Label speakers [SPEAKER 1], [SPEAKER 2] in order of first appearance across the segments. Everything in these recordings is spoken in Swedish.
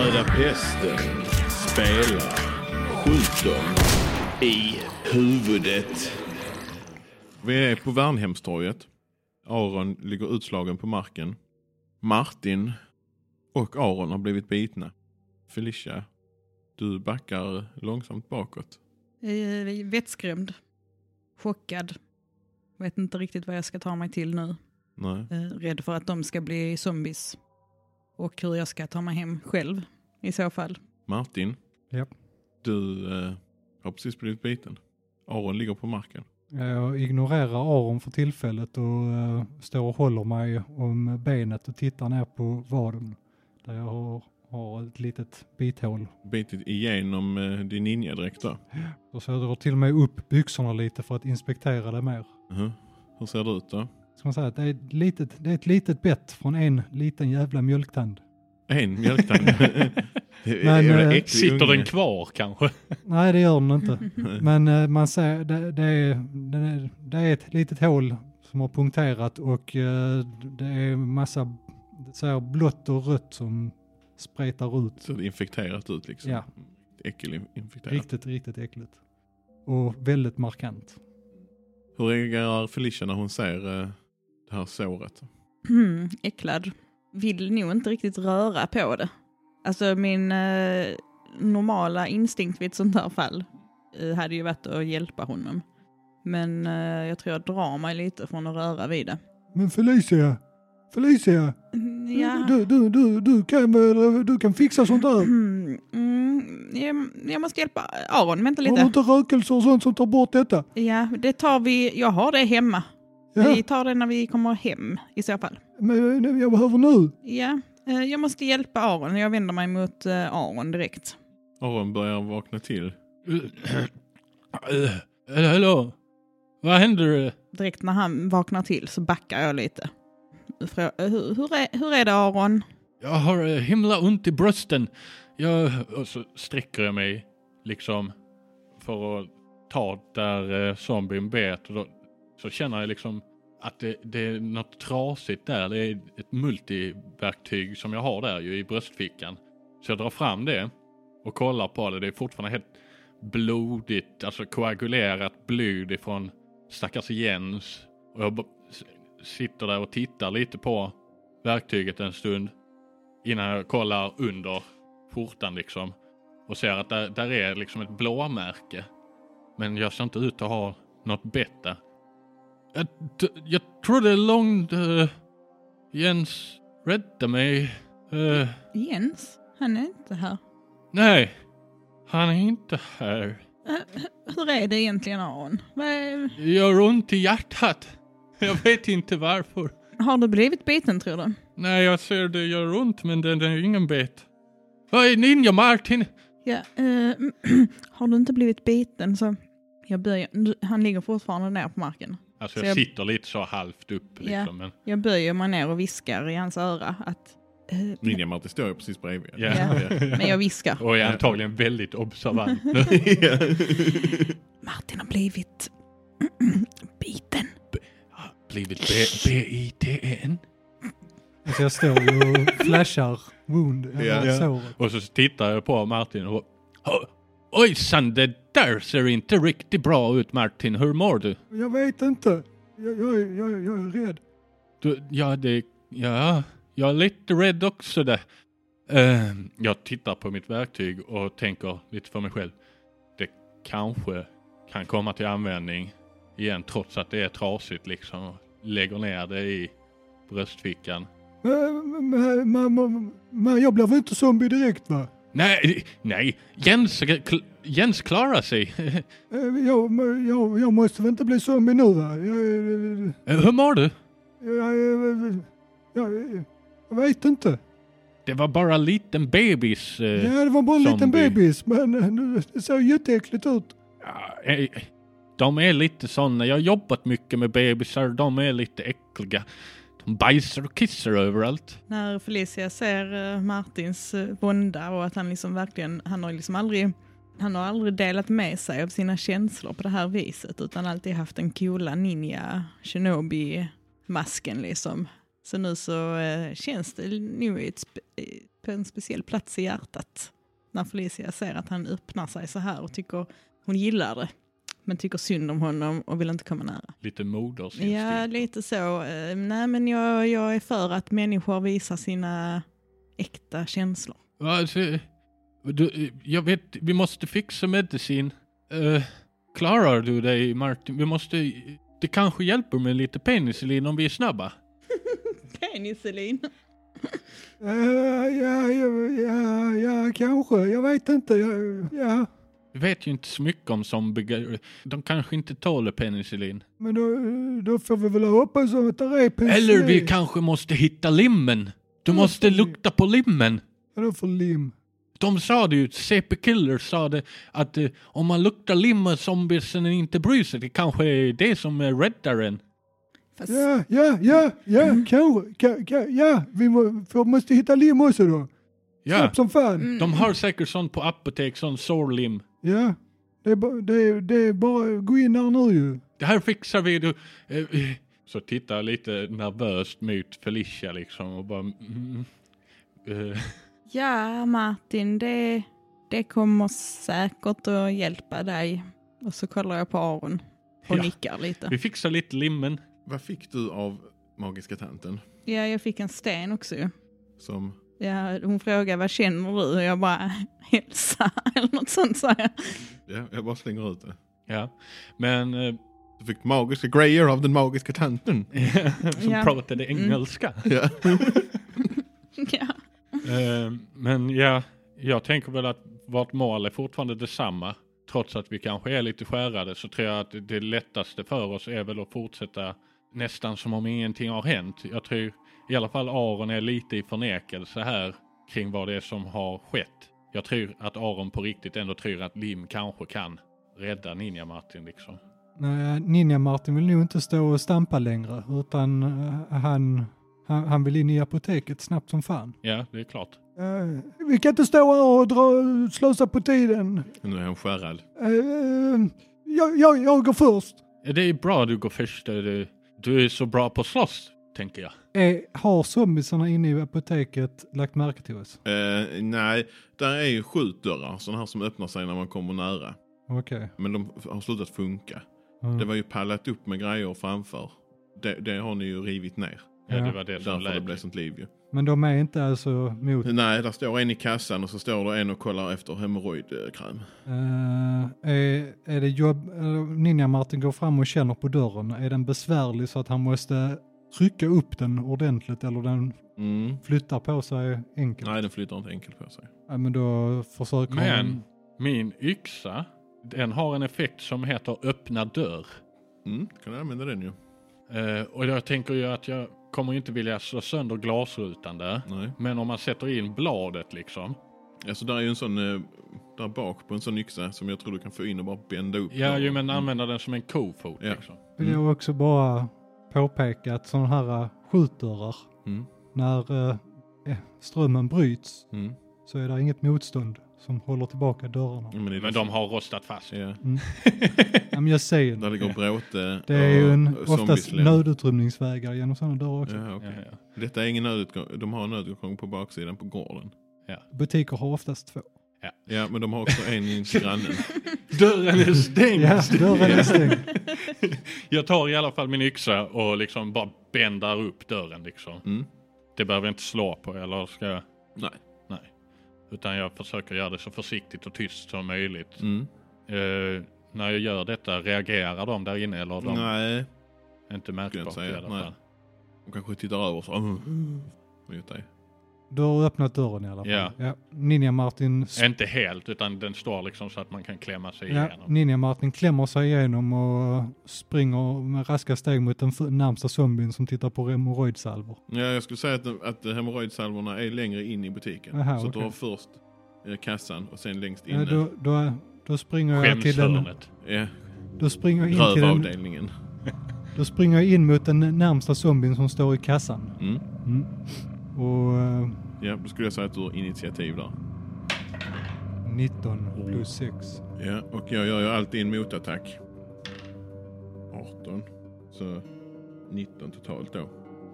[SPEAKER 1] Hästen spelar, skjuter i huvudet. Vi är på Värnhemstorget. Aron ligger utslagen på marken. Martin och Aron har blivit bitna. Felicia, du backar långsamt bakåt.
[SPEAKER 2] Eh, Vettskrämd. Chockad. Vet inte riktigt vad jag ska ta mig till nu.
[SPEAKER 1] Nej.
[SPEAKER 2] Eh, Rädd för att de ska bli zombies. Och hur jag ska ta mig hem själv i så fall.
[SPEAKER 1] Martin,
[SPEAKER 3] Japp.
[SPEAKER 1] du eh, har precis blivit biten. Aron ligger på marken.
[SPEAKER 3] Jag ignorerar Eh, Aron för tillfället och eh, står och håller mig om benet och tittar ner på vaden. Där jag har, har ett litet bithål.
[SPEAKER 1] Bitit igenom eh, din ninjadräkt då.
[SPEAKER 3] Och så jag drar till och med upp byxorna lite för att inspektera det mer.
[SPEAKER 1] Mhm. Hur ser det ut då?
[SPEAKER 3] Ska man säga att det är ett litet, det är ett litet bett från en liten jävla mjölktand.
[SPEAKER 1] En mjölktand. Det är
[SPEAKER 3] Men,
[SPEAKER 1] en jävla
[SPEAKER 3] eh,
[SPEAKER 1] äcklig
[SPEAKER 4] Sitter
[SPEAKER 1] unge.
[SPEAKER 4] den kvar kanske?
[SPEAKER 3] Nej, det gör den inte. Men eh, man ser, det, det, är, det, är- det är ett litet hål som har punkterat och eh, det är massa det ser blått och rött som spretar ut.
[SPEAKER 1] Så det är infekterat ut liksom.
[SPEAKER 3] Ja.
[SPEAKER 1] Äckelinfekterat.
[SPEAKER 3] Riktigt, riktigt äckligt. Och väldigt markant.
[SPEAKER 1] Hur reagerar Felicia när hon ser eh, det här såret?
[SPEAKER 2] Mm, äcklad. Vill nog inte riktigt röra på det. Alltså min eh, normala instinkt vid ett sånt här fall eh, hade ju varit att hjälpa honom. Men eh, jag tror jag drar mig lite från att röra vid det.
[SPEAKER 3] Men Felicia, Felicia,
[SPEAKER 2] Ja.
[SPEAKER 3] du, du, du, du, kan, väl- du kan fixa sånt där.
[SPEAKER 2] Mm, mm, jag, jag måste hjälpa Aron, vänta
[SPEAKER 3] Har du
[SPEAKER 2] lite.
[SPEAKER 3] inte rökelse och sånt som tar bort detta?
[SPEAKER 2] Ja, det tar vi, jag har det hemma.
[SPEAKER 3] Ja,
[SPEAKER 2] Vi tar det när vi kommer hem i så fall.
[SPEAKER 3] men jag behöver nu.
[SPEAKER 2] Ja, eh, jag måste hjälpa Aron, jag vänder mig mot eh, Aron direkt.
[SPEAKER 1] Aron börjar vakna till.
[SPEAKER 4] Eh, Hallå? Vad händer?
[SPEAKER 2] direkt när han vaknar till så backar jag lite. Frå- hur, hur, är, hur är det Aron?
[SPEAKER 4] Jag har eh, himla ont i brösten. Jag... Och så sträcker jag mig liksom för att ta där eh, zombien bet och då, så känner jag liksom att det, det är något trasigt där. Det är ett multiverktyg som jag har där ju i bröstfickan. Så jag drar fram det och kollar på det. Det är fortfarande helt blodigt, alltså koagulerat blod ifrån stackars Jens. Och jag bara s- sitter där och tittar lite på verktyget en stund innan jag kollar under skjortan liksom och ser att där, där är liksom ett blåmärke. Men jag ser inte ut att ha något bett där. Jag, t- jag trodde långt eh, Jens räddade mig. Eh,
[SPEAKER 2] Jens? Han är inte här.
[SPEAKER 4] nej, han är inte här.
[SPEAKER 2] Hur är det egentligen Aron? Vad är-
[SPEAKER 4] Jag har ont i hjärtat. Jag vet inte varför.
[SPEAKER 2] Har du blivit biten tror du?
[SPEAKER 4] Nej, jag ser det gör ont men det, det är ingen bett. Vad är ninja Martin? Alltså,
[SPEAKER 2] Ja, eh, har du inte blivit biten så... Jag böjer, du- han ligger fortfarande ner på marken.
[SPEAKER 4] Alltså
[SPEAKER 2] Så
[SPEAKER 4] jag
[SPEAKER 2] jag-
[SPEAKER 4] sitter lite så halvt upp liksom.
[SPEAKER 2] Ja.
[SPEAKER 4] Men,
[SPEAKER 2] Jag böjer mig ner och viskar i hans öra att... eh,
[SPEAKER 1] Ninja-Martin står ju precis bredvid.
[SPEAKER 4] ja.
[SPEAKER 2] men jag viskar.
[SPEAKER 4] Och är antagligen väldigt observant nu.
[SPEAKER 2] Martin har blivit biten.
[SPEAKER 4] Blivit B- E B-I-T-E-N.
[SPEAKER 3] Alltså jag står ju och flashar wound, eller
[SPEAKER 1] Ja. Ja.
[SPEAKER 3] såret.
[SPEAKER 4] Och så tittar jag på Martin och "Ho- Ojsan, det där ser inte riktigt bra ut Martin. Hur mår du?
[SPEAKER 3] Jag vet inte. Jag, jag, är- jag, är- jag är rädd.
[SPEAKER 4] du ja, det, ja, jag är lite rädd också där. Ehm, jag tittar på mitt verktyg och tänker lite för mig själv. Det kanske kan komma till användning igen trots att det är trasigt liksom. Lägger ner det i bröstfickan.
[SPEAKER 3] Men, men, men, men, men jag blir väl inte zombie direkt va?
[SPEAKER 4] Nej, nej. Jens, kl- Jens klarar sig.
[SPEAKER 3] Eh, Jag, men jag, jag måste väl inte bli zombie nu va? Jag, jag,
[SPEAKER 4] Hur mår du?
[SPEAKER 3] jag, jag, jag, jag vet
[SPEAKER 4] Eh,
[SPEAKER 3] inte.
[SPEAKER 4] Det var bara en liten bebis. eh.
[SPEAKER 3] Ja, det var bara en liten
[SPEAKER 4] zombie.
[SPEAKER 3] bebis men eh, nu- det såg jätteäckligt ut.
[SPEAKER 4] Ja, eh, De är lite såna. Jag har jobbat mycket med bebisar. De är lite äckliga. De bajsar och kissar överallt.
[SPEAKER 2] När Felicia ser eh, Martins eh, vånda och att han liksom verkligen, han har liksom aldrig, han har aldrig delat med sig av sina känslor på det här viset utan alltid haft den coola ninja shinobi masken liksom. Så nu så eh, känns det nu i ett sp- i på en speciell plats i hjärtat. När Felicia ser att han öppnar sig så här och tycker hon gillar det. Men tycker synd om honom och vill inte komma nära.
[SPEAKER 4] Lite modersinstinkt.
[SPEAKER 2] Ja, lite så. Eh, Nej, men jag, jag är för att människor visar sina äkta känslor.
[SPEAKER 4] Va, Alltså, du, jag vet, vi måste fixa medicin. Eh, klarar du dig Martin? Vi måste... Det kanske hjälper med lite penicillin om vi är snabba.
[SPEAKER 2] Penicillin.
[SPEAKER 3] Eh, ja, ja, ja, ja, kanske. Jag vet inte. Jag, ja,
[SPEAKER 4] Vi vet ju inte så mycket om zombier. De kanske inte tål penicillin.
[SPEAKER 3] men då, då får vi väl hoppas att det är penicillin.
[SPEAKER 4] Eller vi kanske måste hitta limmen. Du måste lukta på limmen.
[SPEAKER 3] Vadå för lim?
[SPEAKER 4] De sa det ju, CP Killer sa det att eh, om man luktar lim och zombiesen inte bryr sig, det kanske är det som är räddar en.
[SPEAKER 2] Fast,
[SPEAKER 3] Ja, ja, ja, ja, kanske. Ka, ka, ja, vi må, för måste hitta lim också då.
[SPEAKER 4] Ja,
[SPEAKER 3] Snabbt som fan.
[SPEAKER 4] de har säkert sånt på apotek, sån sårlim.
[SPEAKER 3] Ja, det är, ba- det, är, det är bara gå in här nu ju.
[SPEAKER 4] Det här fixar vi. Du. eh, eh. Så tittar jag lite nervöst mot Felicia liksom och bara... Mm, eh,
[SPEAKER 2] ja, Martin, det, det kommer säkert att hjälpa dig. Och så kollar jag på Aron och
[SPEAKER 4] Ja.
[SPEAKER 2] nickar lite.
[SPEAKER 4] vi fixar lite limmen.
[SPEAKER 1] Vad fick du av magiska tanten?
[SPEAKER 2] Ja, jag fick en sten också ju.
[SPEAKER 1] Som...
[SPEAKER 2] Ja, hon frågar vad känner du? Och jag bara hälsa eller något sånt sa jag.
[SPEAKER 1] Ja, jag bara slänger ut det.
[SPEAKER 4] Ja, men... eh,
[SPEAKER 1] Du fick magiska grejer av den magiska tanten.
[SPEAKER 4] som
[SPEAKER 2] Ja.
[SPEAKER 4] pratade engelska.
[SPEAKER 1] Ja.
[SPEAKER 2] Ja.
[SPEAKER 4] Eh, men ja, jag tänker väl att vårt mål är fortfarande detsamma. Trots att vi kanske är lite skärade så tror jag att det lättaste för oss är väl att fortsätta nästan som om ingenting har hänt. Jag tror i alla fall Aron är lite i förnekelse här kring vad det är som har skett. Jag tror att Aron på riktigt ändå tror att Lim kanske kan rädda Ninja Martin liksom.
[SPEAKER 3] Nej, Ninja-Martin vill nog inte stå och stampa längre utan eh, han, han, han vill in i apoteket snabbt som fan.
[SPEAKER 4] Ja, det är klart.
[SPEAKER 3] Eh, vi kan inte stå här och dra, slösa på tiden.
[SPEAKER 1] Nu är han skärrad.
[SPEAKER 3] Eh, jag, jag, jag går först.
[SPEAKER 4] Det är bra du går först. Du, du är så bra på att slåss, tänker jag.
[SPEAKER 3] Eh, har zombiesarna inne i apoteket lagt märke till oss?
[SPEAKER 1] Eh, nej, där är ju skjutdörrar, sådana här som öppnar sig när man kommer nära.
[SPEAKER 3] Okej.
[SPEAKER 1] Men de f- har slutat funka.
[SPEAKER 3] Mm.
[SPEAKER 1] Det var ju pallat upp med grejer framför. Det, det har ni ju rivit ner.
[SPEAKER 4] Ja,
[SPEAKER 3] Ja.
[SPEAKER 4] det var det som
[SPEAKER 1] Därför det
[SPEAKER 4] lät.
[SPEAKER 1] blev sånt liv ju.
[SPEAKER 3] Men de är inte alltså mot...
[SPEAKER 1] Nej, där står en i kassan och så står det en och kollar efter hemorrojdkräm.
[SPEAKER 3] Eh, är, är det jobb... eh, Ninja-Martin går fram och känner på dörren. Är den besvärlig så att han måste trycka upp den ordentligt eller den
[SPEAKER 1] Mm.
[SPEAKER 3] flyttar på sig enkelt?
[SPEAKER 1] Nej, den flyttar inte enkelt på sig.
[SPEAKER 3] Ja, men då försöker
[SPEAKER 4] Men
[SPEAKER 3] han...
[SPEAKER 4] min yxa, den har en effekt som heter öppna dörr.
[SPEAKER 1] Mm, kan jag använda den ju.
[SPEAKER 4] Eh, och jag tänker ju att jag kommer ju inte vilja slå sönder glasrutan där.
[SPEAKER 1] Nej.
[SPEAKER 4] Men om man sätter in bladet liksom.
[SPEAKER 1] Alltså där är ju en sån, eh, där bak på en sån yxa som jag tror du kan få in och bara bända upp.
[SPEAKER 4] Ja,
[SPEAKER 1] där.
[SPEAKER 4] ju men använda den som en kofot
[SPEAKER 1] Mm. Ja.
[SPEAKER 4] liksom.
[SPEAKER 3] Vill jag också bara påpeka att sådana här eh, skjutdörrar,
[SPEAKER 1] Mm.
[SPEAKER 3] när eh, eh, strömmen bryts
[SPEAKER 1] Mm.
[SPEAKER 3] så är det inget motstånd som håller tillbaka dörrarna.
[SPEAKER 1] Men, det är liksom-
[SPEAKER 4] Men de har rostat fast.
[SPEAKER 1] Ja.
[SPEAKER 3] Ja, men jag säger
[SPEAKER 1] Där
[SPEAKER 3] det.
[SPEAKER 1] ligger bråte
[SPEAKER 3] Det är ju en,
[SPEAKER 1] och
[SPEAKER 3] oftast
[SPEAKER 1] zombiesläm.
[SPEAKER 3] nödutrymningsvägar genom sådana dörrar också.
[SPEAKER 1] Ja, okej.
[SPEAKER 4] Ja, ja.
[SPEAKER 1] Detta är ingen nödutgång. De har en nödutgång på baksidan på gården.
[SPEAKER 3] Butiker har oftast två.
[SPEAKER 1] Ja, men de har också en in till grannen.
[SPEAKER 4] Dörren är stängd!
[SPEAKER 3] Ja, dörren är stängd.
[SPEAKER 4] Jag tar i alla fall min yxa och liksom bara bändar upp dörren liksom.
[SPEAKER 1] Mm.
[SPEAKER 4] Det behöver jag inte slå på eller ska jag?
[SPEAKER 1] Nej.
[SPEAKER 4] Nej. Utan jag försöker göra det så försiktigt och tyst som möjligt.
[SPEAKER 1] Mm.
[SPEAKER 4] Eh, när jag gör detta, reagerar de där inne eller de
[SPEAKER 1] Nej.
[SPEAKER 4] inte
[SPEAKER 1] Skulle jag inte
[SPEAKER 4] märkbart i
[SPEAKER 1] säga,
[SPEAKER 4] alla
[SPEAKER 1] nej.
[SPEAKER 4] fall?
[SPEAKER 1] De kanske tittar över så. Mm. Mot dig.
[SPEAKER 3] Du har öppnat dörren i alla fall.
[SPEAKER 4] Ja.
[SPEAKER 3] Ninja-Martin sp-
[SPEAKER 4] Inte helt, utan den står liksom så att man kan klämma sig
[SPEAKER 3] ja,
[SPEAKER 4] igenom.
[SPEAKER 3] Ninja-Martin klämmer sig igenom och springer med raska steg mot den f- närmsta zombien som tittar på hemorrojdsalvor.
[SPEAKER 1] Ja, jag skulle säga att, att hemorrojdsalvorna är längre in i butiken.
[SPEAKER 3] Aha,
[SPEAKER 1] så att du
[SPEAKER 3] okej.
[SPEAKER 1] har först eh, kassan och sen längst
[SPEAKER 3] Ja,
[SPEAKER 1] inne.
[SPEAKER 3] då, då, då springer jag till den...
[SPEAKER 4] Skämshörnet.
[SPEAKER 1] Ja,
[SPEAKER 3] Då springer jag in till den...
[SPEAKER 1] rövavdelningen.
[SPEAKER 3] Då springer jag in mot den närmsta zombien som står i kassan.
[SPEAKER 1] Mm.
[SPEAKER 3] Mm. Och eh,
[SPEAKER 1] Ja, då skulle jag säga att du har initiativ där.
[SPEAKER 3] 19 plus 6.
[SPEAKER 1] Ja, och jag gör ju alltid en motattack. 18. Så 19 totalt då.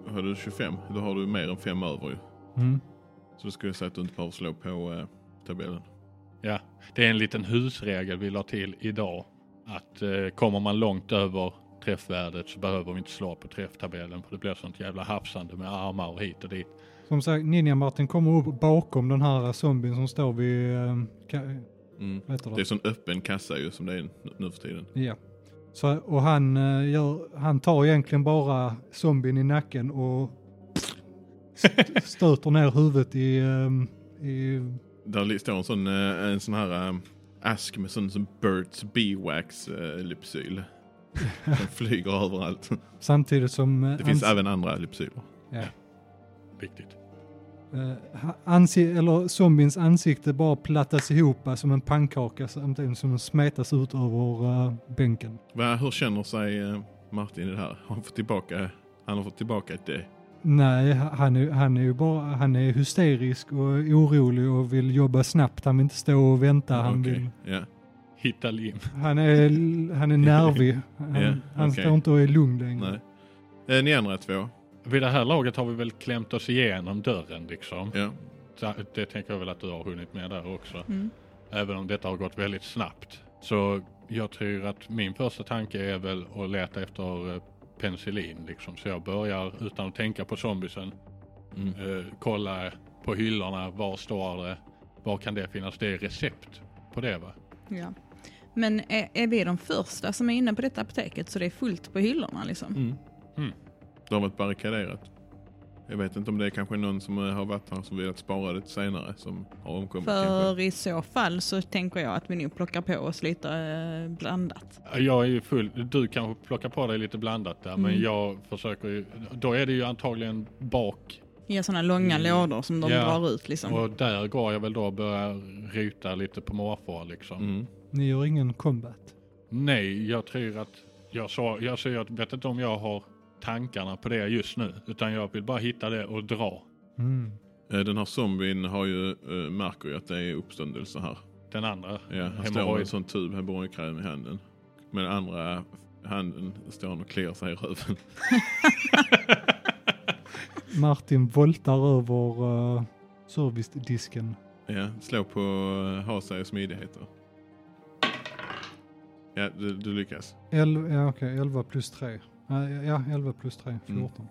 [SPEAKER 1] Har du 25, då har du mer än 5 över ju.
[SPEAKER 3] Mm.
[SPEAKER 1] Så ska jag säga att du inte behöver slå på eh, tabellen.
[SPEAKER 4] Ja, det är en liten husregel vi la till idag. Att eh, kommer man långt över träffvärdet så behöver vi inte slå på träfftabellen för det blir sånt jävla hafsande med armar och hit och dit.
[SPEAKER 3] Som sagt, Ninja-Martin kommer upp bakom den här zombien som står vid... eh, ka-
[SPEAKER 1] Mm.
[SPEAKER 3] Vad heter
[SPEAKER 1] Det är
[SPEAKER 3] det?
[SPEAKER 1] sån öppen kassa ju som det är nu, nu för tiden.
[SPEAKER 3] Ja. Så, och han, eh, gör, han tar egentligen bara zombien i nacken och st- stöter ner huvudet i... ehm, i
[SPEAKER 1] Där li- står en sån, eh, en sån här eh, ask med sån som Burt's Beewax eh, lypsyl. Som flyger överallt.
[SPEAKER 3] samtidigt som... eh,
[SPEAKER 1] Det finns
[SPEAKER 3] ans-
[SPEAKER 1] även andra lypsyler.
[SPEAKER 3] ja.
[SPEAKER 4] Viktigt.
[SPEAKER 3] Eh, ha- ansi- eller zombiens ansikte bara plattas ihop eh, som en pannkaka samtidigt som den smetas ut över eh, bänken.
[SPEAKER 1] Va, hur känner sig eh, Martin i det här? Har han fått tillbaka, han har fått tillbaka ett D?
[SPEAKER 3] Nej, ha- han är, han är ju bara, han är hysterisk och orolig och vill jobba snabbt. Han vill inte stå och vänta. Han,
[SPEAKER 1] Okej,
[SPEAKER 3] vill,
[SPEAKER 1] Ja.
[SPEAKER 4] Hitta lim.
[SPEAKER 3] han, är, han är nervig. Han,
[SPEAKER 1] Ja,
[SPEAKER 3] han
[SPEAKER 1] okej.
[SPEAKER 3] står inte och är lugn längre.
[SPEAKER 1] Nej. Eh, ni andra två?
[SPEAKER 4] Vid det här laget har vi väl klämt oss igenom dörren liksom.
[SPEAKER 1] Ja.
[SPEAKER 4] Så Det tänker jag väl att du har hunnit med där också.
[SPEAKER 2] Mm.
[SPEAKER 4] Även om detta har gått väldigt snabbt. Så jag tror att min första tanke är väl att leta efter eh, penicillin liksom. Så jag börjar utan att tänka på zombiesen
[SPEAKER 1] Mm.
[SPEAKER 4] eh, kolla på hyllorna, var står det, var kan det finnas, det är recept på det va?
[SPEAKER 2] Ja. Men är, är vi de första som är inne på detta apoteket så det är fullt på hyllorna liksom?
[SPEAKER 1] Mm.
[SPEAKER 4] Mm.
[SPEAKER 1] Det har varit barrikaderat. Jag vet inte om det är kanske någon som eh, har varit här som vill att spara det till senare som har omkommit
[SPEAKER 2] För
[SPEAKER 1] kanske.
[SPEAKER 2] i så fall så tänker jag att vi nu plockar på oss lite eh, blandat.
[SPEAKER 4] Jag är ju full, du kanske plockar på dig lite blandat där men
[SPEAKER 2] Mm.
[SPEAKER 4] jag försöker ju, då är det ju antagligen bak
[SPEAKER 2] I sådana långa
[SPEAKER 4] Mm.
[SPEAKER 2] lådor som de
[SPEAKER 4] Ja.
[SPEAKER 2] drar ut liksom.
[SPEAKER 4] och där går jag väl då och börjar ryta lite på måfå liksom.
[SPEAKER 1] Mm.
[SPEAKER 3] Ni gör ingen combat.
[SPEAKER 4] Nej, jag tror att, jag sa, jag, sa, jag vet inte om jag har tankarna på det just nu utan jag vill bara hitta det och dra.
[SPEAKER 3] Mm.
[SPEAKER 1] Eh, Den här zombien har ju, eh, märker ju att det är uppståndelse här.
[SPEAKER 4] Den andra
[SPEAKER 1] Ja, han står med en
[SPEAKER 4] hemorrojd.
[SPEAKER 1] sån tub hemorrojdkräm i handen. Med den andra handen står han och kliar sig i röven.
[SPEAKER 3] Martin voltar över uh, servicedisken.
[SPEAKER 1] Ja, slå på eh, ha sig och smidighet då. Ja, du, du lyckas.
[SPEAKER 3] El, ja, okej, 11 plus 3. ja, 11 plus 3,
[SPEAKER 1] Mm.
[SPEAKER 3] 14.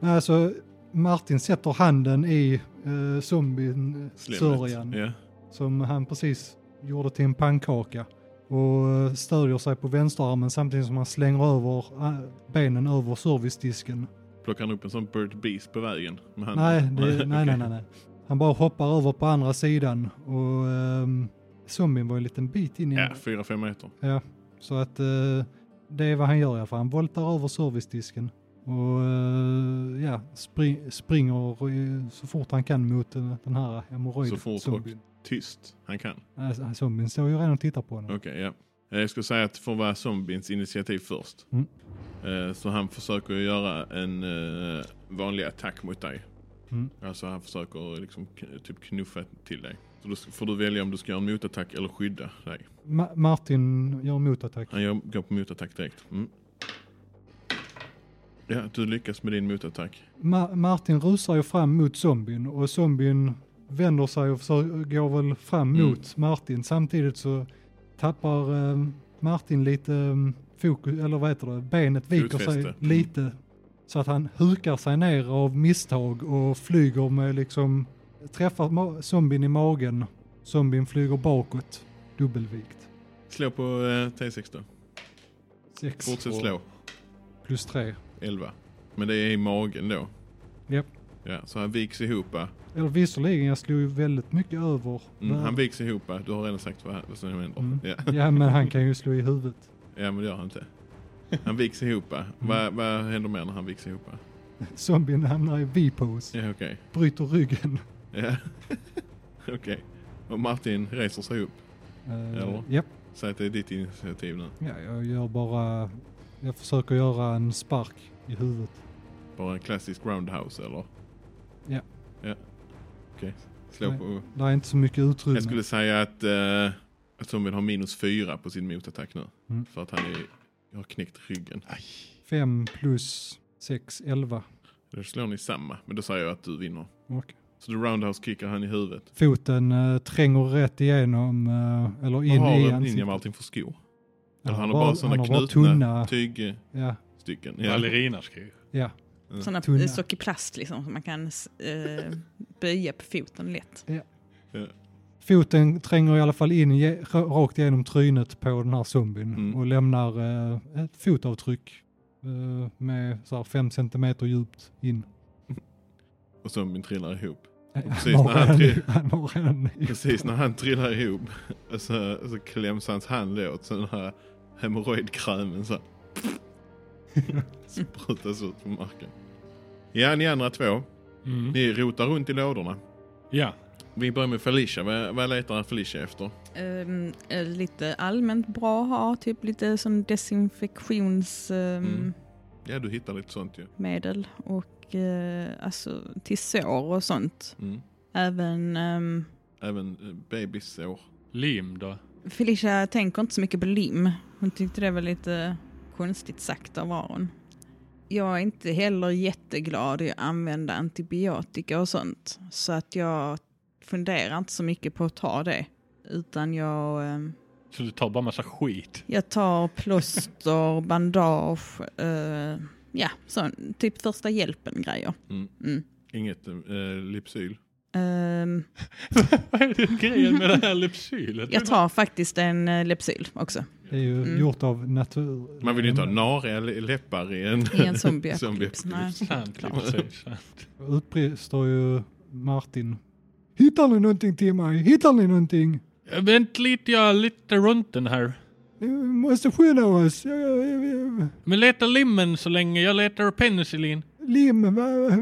[SPEAKER 3] Alltså, Martin sätter handen i uh,
[SPEAKER 1] Slemmet.
[SPEAKER 3] zombien-sörjan.
[SPEAKER 1] Ja.
[SPEAKER 3] som han precis gjorde till en pannkaka och eh, stödjer sig på vänsterarmen samtidigt som han slänger över eh, benen över servicedisken.
[SPEAKER 1] Plockar han upp en sån Bird Beast på vägen? Med handen?
[SPEAKER 3] Nej, det, nej, nej,
[SPEAKER 1] okej.
[SPEAKER 3] nej, nej. Han bara hoppar över på andra sidan och um, zombien var en liten bit in i
[SPEAKER 1] Ja, fyra, fem meter.
[SPEAKER 3] Ja, så att eh, det är vad han gör i alla fall. Han voltar över servicedisken och eh, ja, spring, springer eh, så fort han kan mot eh, den här
[SPEAKER 1] Så fort och-
[SPEAKER 3] hemorrojd-zombien.
[SPEAKER 1] Tyst, han kan.
[SPEAKER 3] Äh, zombien står ju redan och tittar på honom.
[SPEAKER 1] Okej, ja. Eh, Jag skulle säga att för att vara zombiens initiativ först.
[SPEAKER 3] Mm.
[SPEAKER 1] Eh, Så han försöker ju göra en eh, vanlig attack mot dig.
[SPEAKER 3] Mm.
[SPEAKER 1] Alltså han försöker liksom k- typ knuffa till dig. Så då ska- får du välja om du ska göra en motattack eller skydda dig.
[SPEAKER 3] Ma- Martin gör motattack.
[SPEAKER 1] Han gör, går på motattack direkt. Mm. Ja, du lyckas med din motattack.
[SPEAKER 3] Ma- Martin rusar ju fram mot zombien och zombien vänder sig och försöker, går väl fram
[SPEAKER 1] Mm.
[SPEAKER 3] mot Martin. Samtidigt så tappar eh, Martin lite eh, fokus, eller vad heter det, benet viker sig
[SPEAKER 1] Fotfäste. Mm.
[SPEAKER 3] lite. Så att han hukar sig ner av misstag och flyger med liksom, träffar ma- zombien i magen. Zombien flyger bakåt, dubbelvikt.
[SPEAKER 1] Slå på eh, T6 då.
[SPEAKER 3] 6
[SPEAKER 1] Fortsätt slå.
[SPEAKER 3] plus 3.
[SPEAKER 1] 11. Men det är i magen då.
[SPEAKER 3] Japp.
[SPEAKER 1] Ja, så han viks ihop. eh.
[SPEAKER 3] Eller visserligen, jag slog ju väldigt mycket över.
[SPEAKER 1] Mm,
[SPEAKER 3] värdet.
[SPEAKER 1] han viks ihop. eh. Du har redan sagt vad, han- vad som händer.
[SPEAKER 3] Mm.
[SPEAKER 1] Ja.
[SPEAKER 3] Ja men han kan ju slå i huvudet.
[SPEAKER 1] ja, men det gör han inte. Han viks ihop. eh.
[SPEAKER 3] Mm.
[SPEAKER 1] Vad, vad händer mer när han viks ihop? eh?
[SPEAKER 3] Zombien hamnar i V-pose,
[SPEAKER 1] Ja, okej.
[SPEAKER 3] bryter ryggen.
[SPEAKER 1] Ja. okej. Och Martin reser sig upp.
[SPEAKER 3] Eh,
[SPEAKER 1] Ja.
[SPEAKER 3] japp.
[SPEAKER 1] Säg att det är ditt initiativ nu.
[SPEAKER 3] ja, jag gör bara... Jag försöker göra en spark i huvudet.
[SPEAKER 1] Bara en klassisk roundhouse eller?
[SPEAKER 3] Ja.
[SPEAKER 1] Ja. Okej. Slå
[SPEAKER 3] Nej.
[SPEAKER 1] på.
[SPEAKER 3] Det är inte så mycket utrymme.
[SPEAKER 1] Jag skulle säga att eh, att zombien har minus fyra på sin motattack nu.
[SPEAKER 3] Mm.
[SPEAKER 1] För att han är, jag har knäckt ryggen.
[SPEAKER 3] 5 plus 6, 11.
[SPEAKER 1] Då slår ni samma. Men då säger jag att du vinner.
[SPEAKER 3] Okej.
[SPEAKER 1] Så du roundhouse-kickar han i huvudet?
[SPEAKER 3] Foten eh, tränger rätt igenom, eh, eller in
[SPEAKER 1] Vad har
[SPEAKER 3] i
[SPEAKER 1] en ninja
[SPEAKER 3] ansiktet.
[SPEAKER 1] med allting för skor?
[SPEAKER 3] Ja,
[SPEAKER 1] Eller han har bara
[SPEAKER 3] han
[SPEAKER 1] sådana
[SPEAKER 3] har bara
[SPEAKER 1] knutna
[SPEAKER 3] tunna,
[SPEAKER 1] tygstycken?
[SPEAKER 3] ja,
[SPEAKER 1] Ja.
[SPEAKER 4] Ballerinaskor.
[SPEAKER 3] ja,
[SPEAKER 1] Mm.
[SPEAKER 2] Sådana
[SPEAKER 3] Tunna.
[SPEAKER 2] eh, socker plast liksom som man kan eh, böja på foten lätt.
[SPEAKER 3] Foten tränger i alla fall in ge- ra- rakt igenom trynet på den här zombien
[SPEAKER 1] Mm.
[SPEAKER 3] och lämnar eh, ett fotavtryck eh, med så här fem centimeter djupt in.
[SPEAKER 1] Och zombien trillar ihop. precis
[SPEAKER 3] Han har
[SPEAKER 1] när han
[SPEAKER 3] redan-
[SPEAKER 1] tri-
[SPEAKER 3] han har redan
[SPEAKER 1] Precis när han trillar ihop så, så kläms hans hand åt så den här hemorrojdkrämen så här sprutas ut på marken. Ja, ni andra två,
[SPEAKER 4] Mm.
[SPEAKER 1] ni rotar runt i lådorna.
[SPEAKER 4] Ja,
[SPEAKER 1] Vi börjar med Felicia. Vad, vad letar Felicia efter?
[SPEAKER 2] Ehm, eh, lite allmänt bra att ha, typ lite sån
[SPEAKER 1] Mm.
[SPEAKER 2] desinfektionsmedel
[SPEAKER 1] Ja, du hittar lite sånt ju.
[SPEAKER 4] Mm.
[SPEAKER 2] och eh, alltså till sår och sånt.
[SPEAKER 1] Mm.
[SPEAKER 2] Även ehm,
[SPEAKER 1] Även eh, bebissår.
[SPEAKER 4] lim då.
[SPEAKER 2] Felicia tänker inte så mycket på lim. Hon tyckte det var lite konstigt sagt av Aron. Jag är inte heller jätteglad i att använda antibiotika och sånt. Så att jag funderar inte så mycket på att ta det. Utan jag, eh,
[SPEAKER 4] Så du tar bara massa skit.
[SPEAKER 2] jag tar plåster, bandage, eh, ja, sån, typ första hjälpen-grejer.
[SPEAKER 1] Mm.
[SPEAKER 2] Mm.
[SPEAKER 1] Inget eh, Lypsyl.
[SPEAKER 2] Ehm,
[SPEAKER 4] Vad är det grejen med det här lypsylet?
[SPEAKER 2] jag tar faktiskt en eh, Lepsyl också.
[SPEAKER 3] Det är ju
[SPEAKER 2] Mm.
[SPEAKER 3] gjort av natur.
[SPEAKER 1] Man vill ju inte ha nariga le- läppar i en...
[SPEAKER 2] I en zombie
[SPEAKER 1] Zombie-apokalyps.
[SPEAKER 2] Nej,
[SPEAKER 4] Sant,
[SPEAKER 2] klart.
[SPEAKER 4] precis. sant.
[SPEAKER 3] Utbrister ju Martin. Hittar ni någonting till mig? Hittar ni någonting?
[SPEAKER 4] Äh, Vänt lite, jag har lite röntgen här.
[SPEAKER 3] Ni måste skynda oss. Jag- jag- jag- jag-
[SPEAKER 4] Men leta limmen så länge, jag letar penicillin.
[SPEAKER 3] Lim, vad... vad-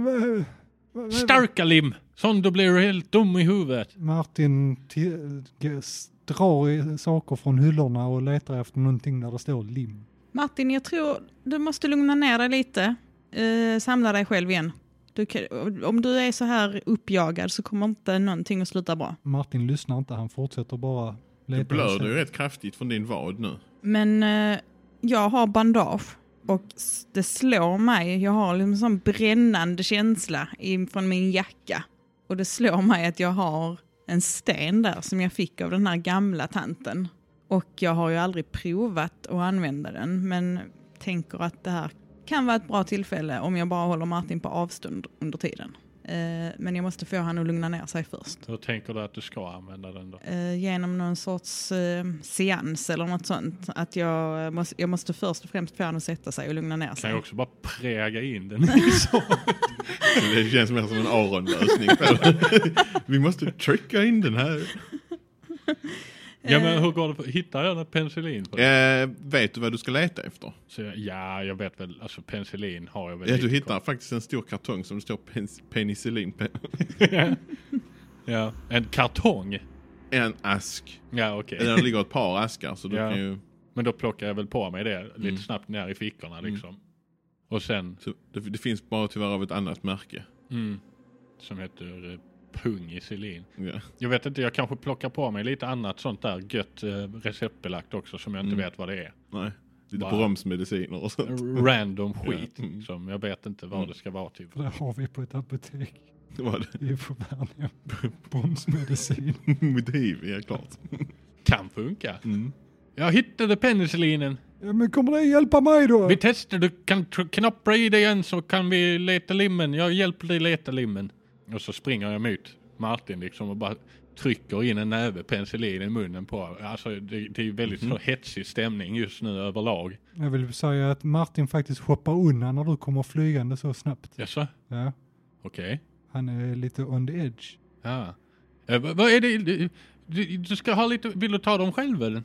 [SPEAKER 3] vad-
[SPEAKER 4] Starka lim! Sån då blir du helt dum i huvudet.
[SPEAKER 3] Martin ti- g- s- drar i saker från hyllorna och letar efter någonting där det står lim.
[SPEAKER 2] Martin, jag tror du måste lugna ner dig lite. Eh, samla dig själv igen. Du kan, om du är så här uppjagad så kommer inte någonting att sluta bra.
[SPEAKER 3] Martin lyssnar inte, han fortsätter bara leta.
[SPEAKER 1] Du blöder ju rätt kraftigt från din vad nu.
[SPEAKER 2] Men eh, jag har bandage och s- det slår mig. Jag har liksom en sån brännande känsla i- från min jacka. Och det slår mig att jag har en sten där som jag fick av den här gamla tanten. Och jag har ju aldrig provat att använda den men tänker att det här kan vara ett bra tillfälle om jag bara håller Martin på avstånd under tiden. Eh, men jag måste få han att lugna ner sig först.
[SPEAKER 4] Hur tänker du att du ska använda den då?
[SPEAKER 2] eh, genom någon sorts eh, seans eller något sånt. Att jag, eh, måste, jag måste först och främst få honom att sätta sig och lugna ner
[SPEAKER 4] Kan
[SPEAKER 2] sig.
[SPEAKER 4] jag också bara präga in den i så?
[SPEAKER 1] Det känns mer som en Aron-lösning. på det. Vi måste trycka in den här.
[SPEAKER 4] Ja men hur går det? På? Hittar jag något penicillin? På det?
[SPEAKER 1] Eh, vet du vad du ska leta efter?
[SPEAKER 4] Så jag, ja, jag vet väl. Alltså penicillin har jag väl.
[SPEAKER 1] Ja,
[SPEAKER 4] lite
[SPEAKER 1] du hittar faktiskt en stor kartong som det står pen- penicillin på.
[SPEAKER 4] koll. Ja. En kartong?
[SPEAKER 1] En ask.
[SPEAKER 4] Ja okej.
[SPEAKER 1] Där ligger ett par askar så du
[SPEAKER 4] Ja.
[SPEAKER 1] kan ju...
[SPEAKER 4] Men då plockar jag väl på mig det
[SPEAKER 1] Mm.
[SPEAKER 4] lite snabbt ner i fickorna liksom. Och sen,
[SPEAKER 1] Så det, det finns bara tyvärr av ett annat märke.
[SPEAKER 4] mm, som heter eh, pungicillin.
[SPEAKER 1] Ja.
[SPEAKER 4] Jag vet inte, jag kanske plockar på mig lite annat sånt där gött eh, receptbelagt också som jag inte
[SPEAKER 1] Mm.
[SPEAKER 4] vet vad det är.
[SPEAKER 1] Nej. Lite
[SPEAKER 4] Bara-
[SPEAKER 1] bromsmediciner och sånt.
[SPEAKER 4] Random skit.
[SPEAKER 1] Ja, mm.
[SPEAKER 4] Liksom. Jag vet inte vad
[SPEAKER 1] Mm.
[SPEAKER 4] det ska vara till.
[SPEAKER 3] Det har vi på ett apotek
[SPEAKER 1] Det var det.
[SPEAKER 3] i Värnhem. Bromsmedicin.
[SPEAKER 1] Mot hiv, ja klart.
[SPEAKER 4] Kan funka.
[SPEAKER 1] Mm.
[SPEAKER 4] Jag hittade penicillinen.
[SPEAKER 3] Ja, men kommer det hjälpa mig då?
[SPEAKER 4] Vi testar, du kan tr- knappra i dig igen så kan vi leta limmen. Jag hjälper dig leta limmen. Och så springer jag mot Martin liksom och bara trycker in en näve penicillin i munnen på Alltså det, det är ju väldigt så hetsig stämning just nu överlag.
[SPEAKER 3] Jag vill säga att Martin faktiskt hoppar undan när du kommer flygande så snabbt.
[SPEAKER 4] Jaså?
[SPEAKER 3] Ja,
[SPEAKER 4] Okej.
[SPEAKER 3] han är lite on the edge.
[SPEAKER 4] Ja. Eh, vad- vad är det? Du, du, du ska ha lite, vill du ta dem själv eller?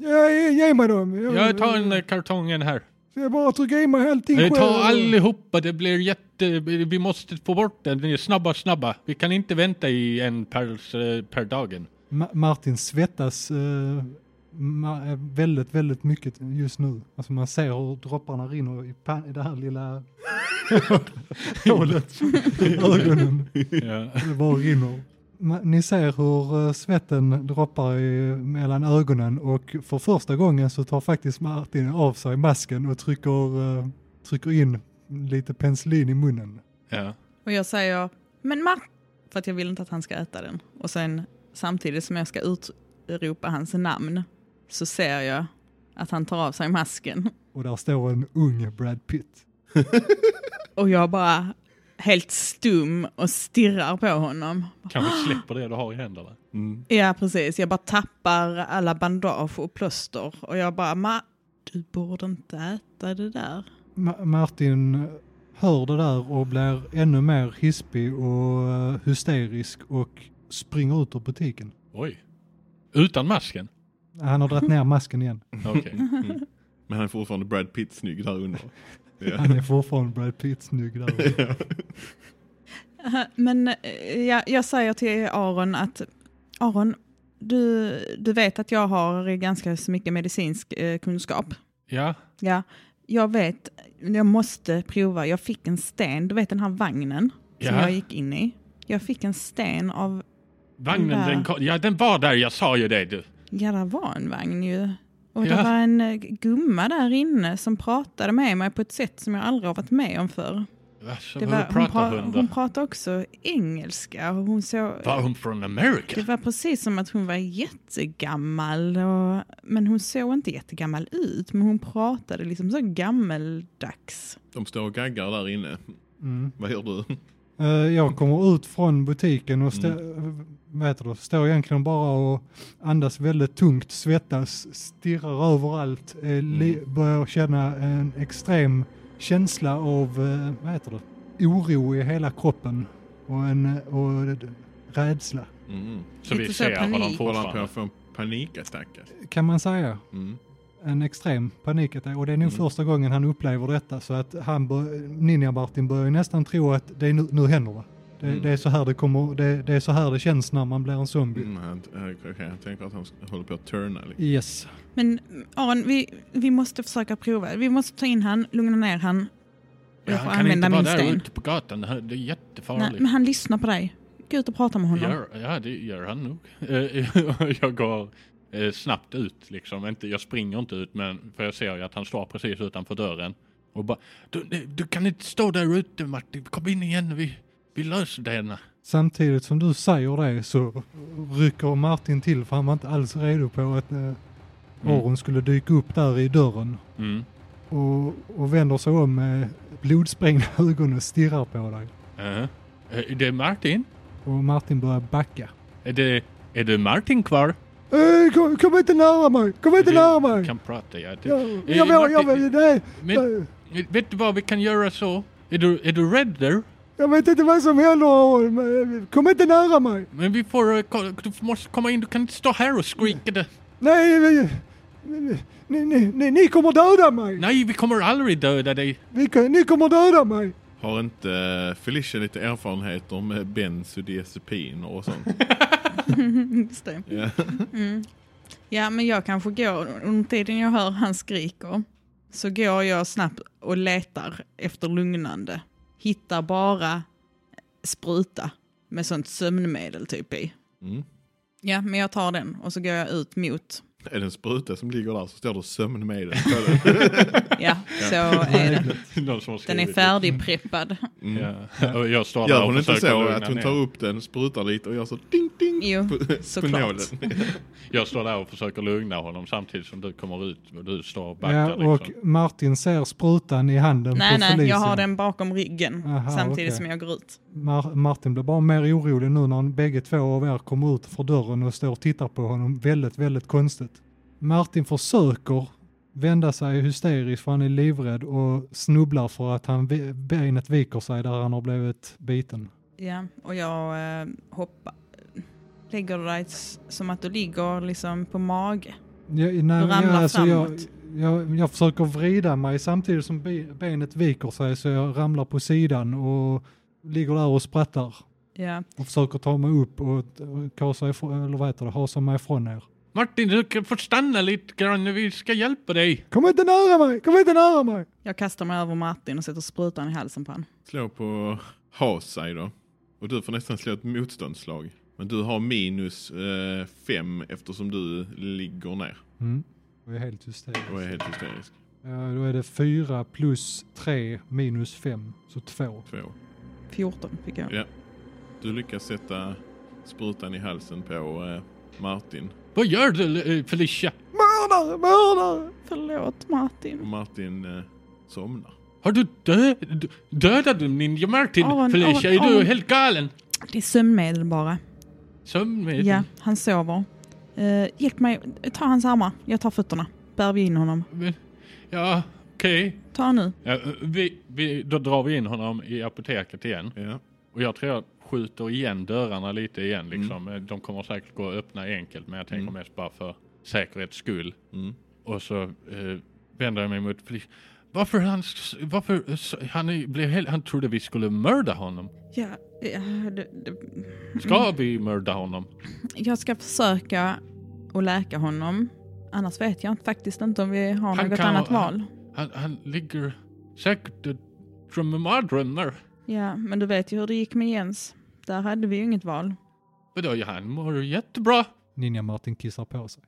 [SPEAKER 3] Ja, ge, ge mig dem.
[SPEAKER 4] Jag tar en eh, kartongen här.
[SPEAKER 3] Ska jag bara trycka i mig allting
[SPEAKER 4] Eh, Ta
[SPEAKER 3] själv?
[SPEAKER 4] allihopa, det blir jätte... Vi måste få bort den. Ni är Snabba, snabba. Vi kan inte vänta i en per, eh, per dagen.
[SPEAKER 3] Ma- Martin svettas eh, ma- eh, väldigt, väldigt mycket just nu. Alltså man ser hur dropparna rinner i, pan- i det här lilla hålet. Ögonen.
[SPEAKER 4] Ja.
[SPEAKER 3] Det bara rinner. Ma- Ni ser hur eh, svetten droppar i, mellan ögonen och för första gången så tar faktiskt Martin av sig masken och trycker, eh, trycker in lite penicillin i munnen.
[SPEAKER 4] Ja.
[SPEAKER 2] Och jag säger, men Mar- För att jag vill inte att han ska äta den. Och sen samtidigt som jag ska utropa hans namn så ser jag att han tar av sig masken.
[SPEAKER 3] Och där står en ung Brad Pitt.
[SPEAKER 2] Och jag bara helt stum och stirrar på honom.
[SPEAKER 4] Kanske släpper det du har i händerna.
[SPEAKER 1] Mm.
[SPEAKER 2] Ja, precis. Jag bara tappar alla bandage och plåster. Och jag bara, ma, du borde inte äta det där.
[SPEAKER 3] Ma- Martin hör det där och blir ännu mer hispig och eh, hysterisk och springer ut ur butiken.
[SPEAKER 4] Oj. Utan masken?
[SPEAKER 3] Han har dragit ner masken igen.
[SPEAKER 4] Okej.
[SPEAKER 1] Mm. Men han är fortfarande Brad Pitt snygg där under. Ja.
[SPEAKER 3] Han är fortfarande Brad Pitt snygg där.
[SPEAKER 1] Ja.
[SPEAKER 2] Eh, Men eh, jag, jag säger till Aron att Aron, du, du vet att jag har ganska så mycket medicinsk eh, kunskap.
[SPEAKER 4] Ja.
[SPEAKER 2] Ja, jag vet. Jag måste prova. Jag fick en sten, du vet den här vagnen som
[SPEAKER 4] ja.
[SPEAKER 2] jag gick in i. Jag fick en sten av,
[SPEAKER 4] Vagnen,
[SPEAKER 2] Ja.
[SPEAKER 4] den, kom- ja, den var där, jag sa ju det du.
[SPEAKER 2] ja det var en vagn ju. Och det
[SPEAKER 4] Ja.
[SPEAKER 2] var en eh, gumma där inne som pratade med mig på ett sätt som jag aldrig har varit med om förr.
[SPEAKER 4] Alltså,
[SPEAKER 2] Det
[SPEAKER 4] vad
[SPEAKER 2] var,
[SPEAKER 4] du
[SPEAKER 2] hon,
[SPEAKER 4] pratar
[SPEAKER 2] pra-
[SPEAKER 4] hon,
[SPEAKER 2] hon pratade också engelska. Och hon såg,
[SPEAKER 4] Var hon från Amerika?
[SPEAKER 2] Det var precis som att hon var jättegammal. Och, men hon såg inte jättegammal ut. Men hon pratade liksom så gammeldags.
[SPEAKER 1] De står och gaggar där inne.
[SPEAKER 3] Mm.
[SPEAKER 1] Vad gör du?
[SPEAKER 3] Eh, Jag kommer ut från butiken och stä-
[SPEAKER 1] Mm.
[SPEAKER 3] vad heter det, står egentligen bara och andas väldigt tungt, svettas, stirrar överallt, eh, li-
[SPEAKER 1] Mm.
[SPEAKER 3] börjar känna en extrem känsla av, eh, vad heter det, oro i hela kroppen och en eh, och d- rädsla.
[SPEAKER 1] Mm.
[SPEAKER 4] Så vi
[SPEAKER 2] Lite så
[SPEAKER 4] ser honom
[SPEAKER 2] panik.
[SPEAKER 1] Håller han på
[SPEAKER 4] fortfarande.
[SPEAKER 1] att få en panikattack? alltså?
[SPEAKER 3] Kan man säga.
[SPEAKER 1] Mm.
[SPEAKER 3] En extrem panikattack och det är nog
[SPEAKER 1] Mm.
[SPEAKER 3] första gången han upplever detta så att han, bör- Ninja-Martin börjar ju nästan tro att det är nu, nu händer det. Det,
[SPEAKER 1] Mm.
[SPEAKER 3] det, är så här det, kommer, det, det är så här det känns när man blir en zombie.
[SPEAKER 1] Mm, han, eh, okej, jag tänker att han håller på att turna. Liksom.
[SPEAKER 3] Yes.
[SPEAKER 2] Men mm, Aron, vi, vi måste försöka prova. Vi måste ta in han, lugna ner han.
[SPEAKER 4] Ja,
[SPEAKER 2] Jag får
[SPEAKER 4] han kan
[SPEAKER 2] använda
[SPEAKER 4] inte vara
[SPEAKER 2] min
[SPEAKER 4] där
[SPEAKER 2] sten.
[SPEAKER 4] ute på gatan, det här- det är
[SPEAKER 2] Nej,
[SPEAKER 4] jättefarligt.
[SPEAKER 2] men han lyssnar på dig. Gå ut och prata med honom.
[SPEAKER 4] Gör, ja, det gör han nog. Eh, jag går eh, snabbt ut liksom. Inte, jag springer inte ut, men för jag ser ju att han står precis utanför dörren. Och bara, du, nej, du kan inte stå där ute Martin, kom in igen, vi, vi löser det. här."
[SPEAKER 3] Samtidigt som du säger det så rycker Martin till för han var inte alls redo på att eh, Aron skulle dyka upp där i dörren
[SPEAKER 4] Mm.
[SPEAKER 3] och, och vänder sig om med blodsprängda ögon och stirrar på dig.
[SPEAKER 4] Eh, Är det Martin?
[SPEAKER 3] Och Martin börjar backa.
[SPEAKER 4] Är det, är det Martin kvar?
[SPEAKER 3] Äh, kom, kom inte nära mig! Kom inte
[SPEAKER 4] Vi
[SPEAKER 3] nära mig!
[SPEAKER 4] kan prata, ja. Det,
[SPEAKER 3] Jag,
[SPEAKER 4] Eh,
[SPEAKER 3] jag, vill, jag,
[SPEAKER 4] Martin,
[SPEAKER 3] vill, nej,
[SPEAKER 4] men, vet du vad, vi kan göra så. Är du, är du rädd där?
[SPEAKER 3] jag vet inte vad som händer Aron. men, eh, Kom inte nära mig!
[SPEAKER 4] Men vi får, eh, ko- du måste komma in, du kan inte stå här och skrika det.
[SPEAKER 3] Nej, vi- ni, ni, ni, ni kommer döda mig!
[SPEAKER 4] Nej, vi kommer aldrig döda dig.
[SPEAKER 3] Ni, ni kommer döda mig!
[SPEAKER 1] Har inte eh, Felicia lite erfarenhet om eh, benzodiazepiner och sånt?
[SPEAKER 2] Just det.
[SPEAKER 1] Ja.
[SPEAKER 2] Ja, men jag kanske går, under tiden jag hör han skriker, så går jag snabbt och letar efter lugnande. Hittar bara spruta med sånt sömnmedel typ i.
[SPEAKER 1] Mm.
[SPEAKER 2] Ja, men jag tar den och så går jag ut mot.
[SPEAKER 1] Är det en spruta som ligger där så står det sömnmedel.
[SPEAKER 2] Ja, så är det.
[SPEAKER 4] Någon som har
[SPEAKER 2] Den är
[SPEAKER 4] skrivit.
[SPEAKER 2] färdigpreppad.
[SPEAKER 1] Mm.
[SPEAKER 4] Ja. Och jag står där
[SPEAKER 1] Gör
[SPEAKER 4] och
[SPEAKER 1] hon inte
[SPEAKER 4] försöker
[SPEAKER 1] så
[SPEAKER 4] lugna
[SPEAKER 1] att hon
[SPEAKER 4] ner.
[SPEAKER 1] tar upp den, sprutar lite och gör så ding ding
[SPEAKER 2] Jo,
[SPEAKER 1] på, på
[SPEAKER 2] såklart.
[SPEAKER 1] nålen?
[SPEAKER 4] Jag står där och försöker lugna honom samtidigt som du kommer ut och du står och backar.
[SPEAKER 3] Ja, och
[SPEAKER 4] liksom.
[SPEAKER 3] Martin ser sprutan i handen
[SPEAKER 2] Nej,
[SPEAKER 3] på
[SPEAKER 2] nej,
[SPEAKER 3] Felicia.
[SPEAKER 2] jag har den bakom ryggen
[SPEAKER 3] Aha,
[SPEAKER 2] samtidigt
[SPEAKER 3] okej.
[SPEAKER 2] som jag går ut.
[SPEAKER 3] Mar- Martin blir bara mer orolig nu när bägge två av er kommer ut för dörren och står och tittar på honom väldigt, väldigt konstigt. Martin försöker vända sig hysteriskt för han är livrädd och snubblar för att han vi- benet viker sig där han har blivit biten.
[SPEAKER 2] Ja, och jag eh, hoppar. Lägger du dig s- som att du ligger liksom på mage?
[SPEAKER 3] Jag, nej,
[SPEAKER 2] Du ramlar
[SPEAKER 3] jag, jag,
[SPEAKER 2] framåt.
[SPEAKER 3] jag, jag försöker vrida mig samtidigt som be- benet viker sig så jag ramlar på sidan och ligger där och sprattar.
[SPEAKER 2] Ja,
[SPEAKER 3] och försöker ta mig upp och och kasa ifrån, eller vad heter det, hasa mig ifrån er.
[SPEAKER 4] Martin, du kan få stanna lite grann. Vi ska hjälpa dig.
[SPEAKER 3] Kom inte nära mig, kom inte nära mig!
[SPEAKER 2] Jag kastar mig över Martin och sätter sprutan i halsen på honom.
[SPEAKER 1] Slå på Hasai då. Och du får nästan slå ett motståndslag. Men du har minus eh, fem eftersom du ligger ner
[SPEAKER 3] Mm. Jag är helt hysterisk.
[SPEAKER 1] och är helt hysterisk.
[SPEAKER 3] Ja, då är det fyra plus tre minus fem, så två.
[SPEAKER 1] Två.
[SPEAKER 2] 14 fick jag.
[SPEAKER 1] Ja. Du lyckas sätta sprutan i halsen på eh, Martin.
[SPEAKER 4] Vad gör du eh, Felicia?
[SPEAKER 2] Mördare, mördare! Förlåt
[SPEAKER 1] Och
[SPEAKER 2] Martin.
[SPEAKER 1] Martin eh, somnar.
[SPEAKER 4] Har du dö d- dödat Ninja Martin?
[SPEAKER 2] Aron,
[SPEAKER 4] Felicia,
[SPEAKER 2] Aron,
[SPEAKER 4] är du
[SPEAKER 2] Aron.
[SPEAKER 4] helt galen?
[SPEAKER 2] Det är sömnmedel bara.
[SPEAKER 4] Sömnmedel?
[SPEAKER 2] Ja, han sover. Eh, hjälp mig, ta hans armar. Jag tar fötterna. Bär vi in honom.
[SPEAKER 4] Men- Ja, okej.
[SPEAKER 2] Ta nu.
[SPEAKER 4] Ja, eh, vi, vi, då drar vi in honom i apoteket igen.
[SPEAKER 1] Ja.
[SPEAKER 4] Och jag tror jag skjuter igen dörrarna lite igen liksom. De kommer säkert gå att öppna enkelt men jag tänker
[SPEAKER 1] Mm.
[SPEAKER 4] mest bara för säkerhets skull.
[SPEAKER 1] Mm.
[SPEAKER 4] Och så eh, vänder jag mig mot Felicia. Varför han, s- varför s- han är- blev helt, han trodde vi skulle mörda honom.
[SPEAKER 2] Ja, ja, det, det,
[SPEAKER 4] Ska
[SPEAKER 1] Mm.
[SPEAKER 4] vi mörda honom?
[SPEAKER 2] jag ska försöka att läka honom. Annars vet jag inte- faktiskt inte om vi har
[SPEAKER 4] Han
[SPEAKER 2] något
[SPEAKER 4] kan-
[SPEAKER 2] annat val.
[SPEAKER 4] Han, han ligger säkert och drömmer drömmar.
[SPEAKER 2] Ja, men du vet ju hur det gick med Jens. Där hade vi ju inget val.
[SPEAKER 4] Vadå, ja, han mår jättebra.
[SPEAKER 3] Ninja Martin kissar på sig.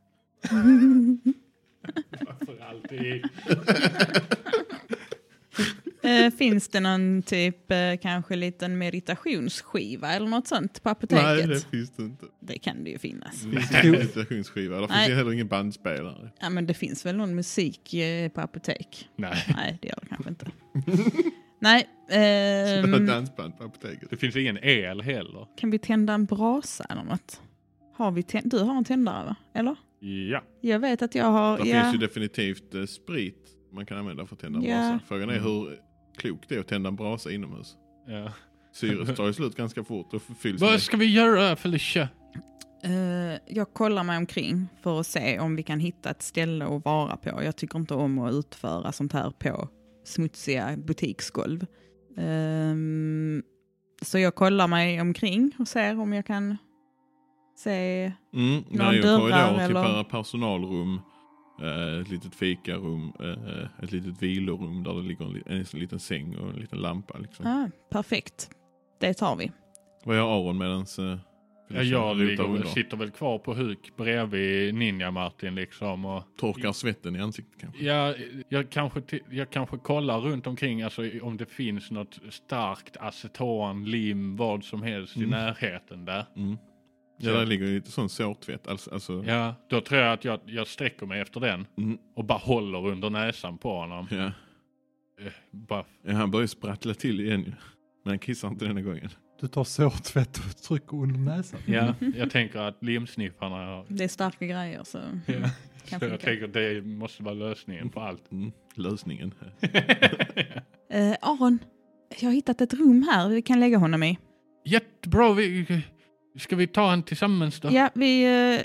[SPEAKER 4] För alltid.
[SPEAKER 2] Eh, finns det någon typ, eh, kanske liten meditationsskiva eller något sånt på
[SPEAKER 1] Nej,
[SPEAKER 2] apoteket?
[SPEAKER 1] det
[SPEAKER 2] det...
[SPEAKER 1] finns det inte.
[SPEAKER 2] kan det ju finnas.
[SPEAKER 1] Det finns ingen meditationsskiva. Där finns
[SPEAKER 2] Nej.
[SPEAKER 1] ju heller ingen bandspelare.
[SPEAKER 2] Ja, men det finns väl någon musik eh, på apotek?
[SPEAKER 4] Nej,
[SPEAKER 2] Nej, det gör det kanske inte. Nej, ehm,
[SPEAKER 1] Dansband på apoteket.
[SPEAKER 4] det finns ingen el heller.
[SPEAKER 2] kan vi tända en brasa eller något? Har vi tän- du har en tändare, va? Eller?
[SPEAKER 4] Ja.
[SPEAKER 2] Jag vet att jag har...
[SPEAKER 1] Där
[SPEAKER 2] ja.
[SPEAKER 1] finns ju definitivt eh, sprit man kan använda för att tända en
[SPEAKER 2] Ja.
[SPEAKER 1] brasa. Frågan är hur klokt det är att tända en brasa inomhus.
[SPEAKER 4] ja.
[SPEAKER 1] Syret tar ju slut ganska fort och fylls
[SPEAKER 4] Vad ska vi göra Felicia?
[SPEAKER 2] Eh, jag kollar mig omkring för att se om vi kan hitta ett ställe att vara på. Jag tycker inte om att utföra sånt här på smutsiga butiksgolv. Ehm, så jag kollar mig omkring och ser om jag kan se...
[SPEAKER 1] Mm, det
[SPEAKER 2] Några
[SPEAKER 1] är ju en
[SPEAKER 2] dörrar
[SPEAKER 1] korridor till
[SPEAKER 2] eller-
[SPEAKER 1] per personalrum, eh, ett litet fikarum, eh, ett litet vilorum där det ligger en, li- en liten säng och en liten lampa. Liksom.
[SPEAKER 4] Mm.
[SPEAKER 2] Ah, perfekt, det tar vi.
[SPEAKER 1] Vad gör Aron medans eh,
[SPEAKER 4] Ja,
[SPEAKER 1] Felicia
[SPEAKER 4] jag
[SPEAKER 1] rotar
[SPEAKER 4] ligger,
[SPEAKER 1] under?
[SPEAKER 4] sitter väl kvar på huk bredvid Ninja-Martin liksom. Och
[SPEAKER 1] Torkar svetten i ansiktet kanske?
[SPEAKER 4] jag, jag, kanske, ti- jag kanske kollar runt omkring alltså, i- om det finns något starkt aceton, lim, vad som helst i
[SPEAKER 1] Mm.
[SPEAKER 4] närheten där.
[SPEAKER 1] Mm. Ja, där ligger ju lite sån sårtvätt. Alltså, alltså,
[SPEAKER 4] Ja, då tror jag att jag, jag sträcker mig efter den
[SPEAKER 1] Mm,
[SPEAKER 4] och bara håller under näsan på honom.
[SPEAKER 1] ja.
[SPEAKER 4] Eh, Bara,
[SPEAKER 1] Ja, han börjar sprattla till igen ju. Men han kissar inte denna gången.
[SPEAKER 3] Du tar sårtvätt och trycker under näsan.
[SPEAKER 4] ja,
[SPEAKER 1] Mm.
[SPEAKER 4] jag tänker att limsniffarna...
[SPEAKER 2] Det är starka grejer så
[SPEAKER 4] Ja. Så
[SPEAKER 2] kan
[SPEAKER 4] jag
[SPEAKER 2] funka.
[SPEAKER 4] tänker att det måste vara lösningen på allt.
[SPEAKER 1] Mm. Lösningen.
[SPEAKER 2] Eh, Aron, jag har hittat ett rum här vi kan lägga honom i.
[SPEAKER 4] Jättebra, vi, ska vi ta han tillsammans då?
[SPEAKER 2] Ja, vi... eh,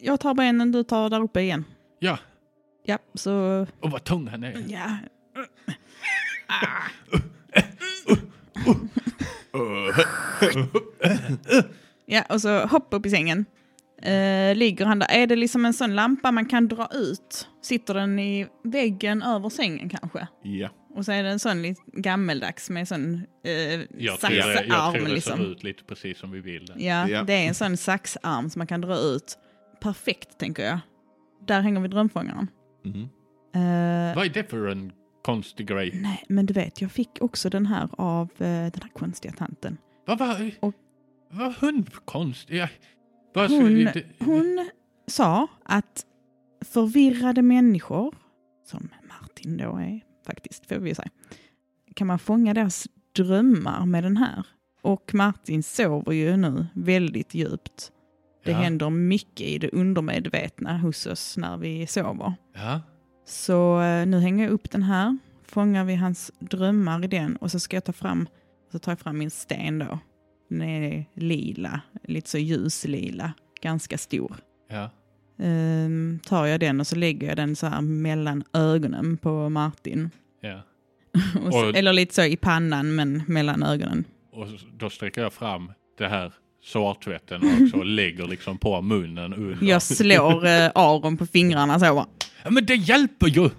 [SPEAKER 2] jag tar benen, du tar där uppe igen.
[SPEAKER 4] Ja.
[SPEAKER 2] Ja, så...
[SPEAKER 4] Och vad tung han är.
[SPEAKER 2] Ja.
[SPEAKER 4] Öh.
[SPEAKER 2] Ja, och så hoppa upp i sängen. Eh, ligger han där? Är det liksom en sån lampa man kan dra ut? Sitter den i väggen över sängen kanske?
[SPEAKER 1] ja.
[SPEAKER 2] Och så är det en sån lite gammeldags med sån eh,
[SPEAKER 4] Jag tror, det, jag
[SPEAKER 2] saxarm
[SPEAKER 4] tror det
[SPEAKER 2] liksom.
[SPEAKER 4] ser ut lite precis som vi vill. där.
[SPEAKER 2] Ja,
[SPEAKER 1] Ja.
[SPEAKER 2] det är en sån saxarm som man kan dra ut. Perfekt, tänker jag. Där hänger vi drömfångaren.
[SPEAKER 1] Mm.
[SPEAKER 2] Eh,
[SPEAKER 4] Vad är det för en konstig grej?
[SPEAKER 2] nej, men du vet, jag fick också den här av eh, den här konstiga tanten.
[SPEAKER 4] Vad var...
[SPEAKER 2] Och-
[SPEAKER 4] Vad hon konstig... Ja. Vad ska
[SPEAKER 2] Hon,
[SPEAKER 4] vi- det-
[SPEAKER 2] hon sa att förvirrade människor, som Martin då är faktiskt, får vi ju säga, kan man fånga deras drömmar med den här. Och Martin sover ju nu väldigt djupt. Det
[SPEAKER 4] ja.
[SPEAKER 2] händer mycket i det undermedvetna hos oss när vi sover.
[SPEAKER 4] Ja.
[SPEAKER 2] Så eh, nu hänger jag upp den här, fångar vi hans drömmar i den och så ska jag ta fram, så tar jag fram min sten då. Den är lila, lite så ljuslila, ganska stor.
[SPEAKER 4] ja.
[SPEAKER 2] Ehm, tar jag den och så lägger jag den så här mellan ögonen på Martin.
[SPEAKER 4] ja.
[SPEAKER 2] Och så,
[SPEAKER 4] Och-
[SPEAKER 2] eller lite så i pannan men mellan ögonen.
[SPEAKER 4] Och s- då sträcker jag fram det här sårtvätten också och lägger liksom på munnen under.
[SPEAKER 2] Jag slår eh, Aron på fingrarna så bara
[SPEAKER 4] Ja, men det hjälper ju!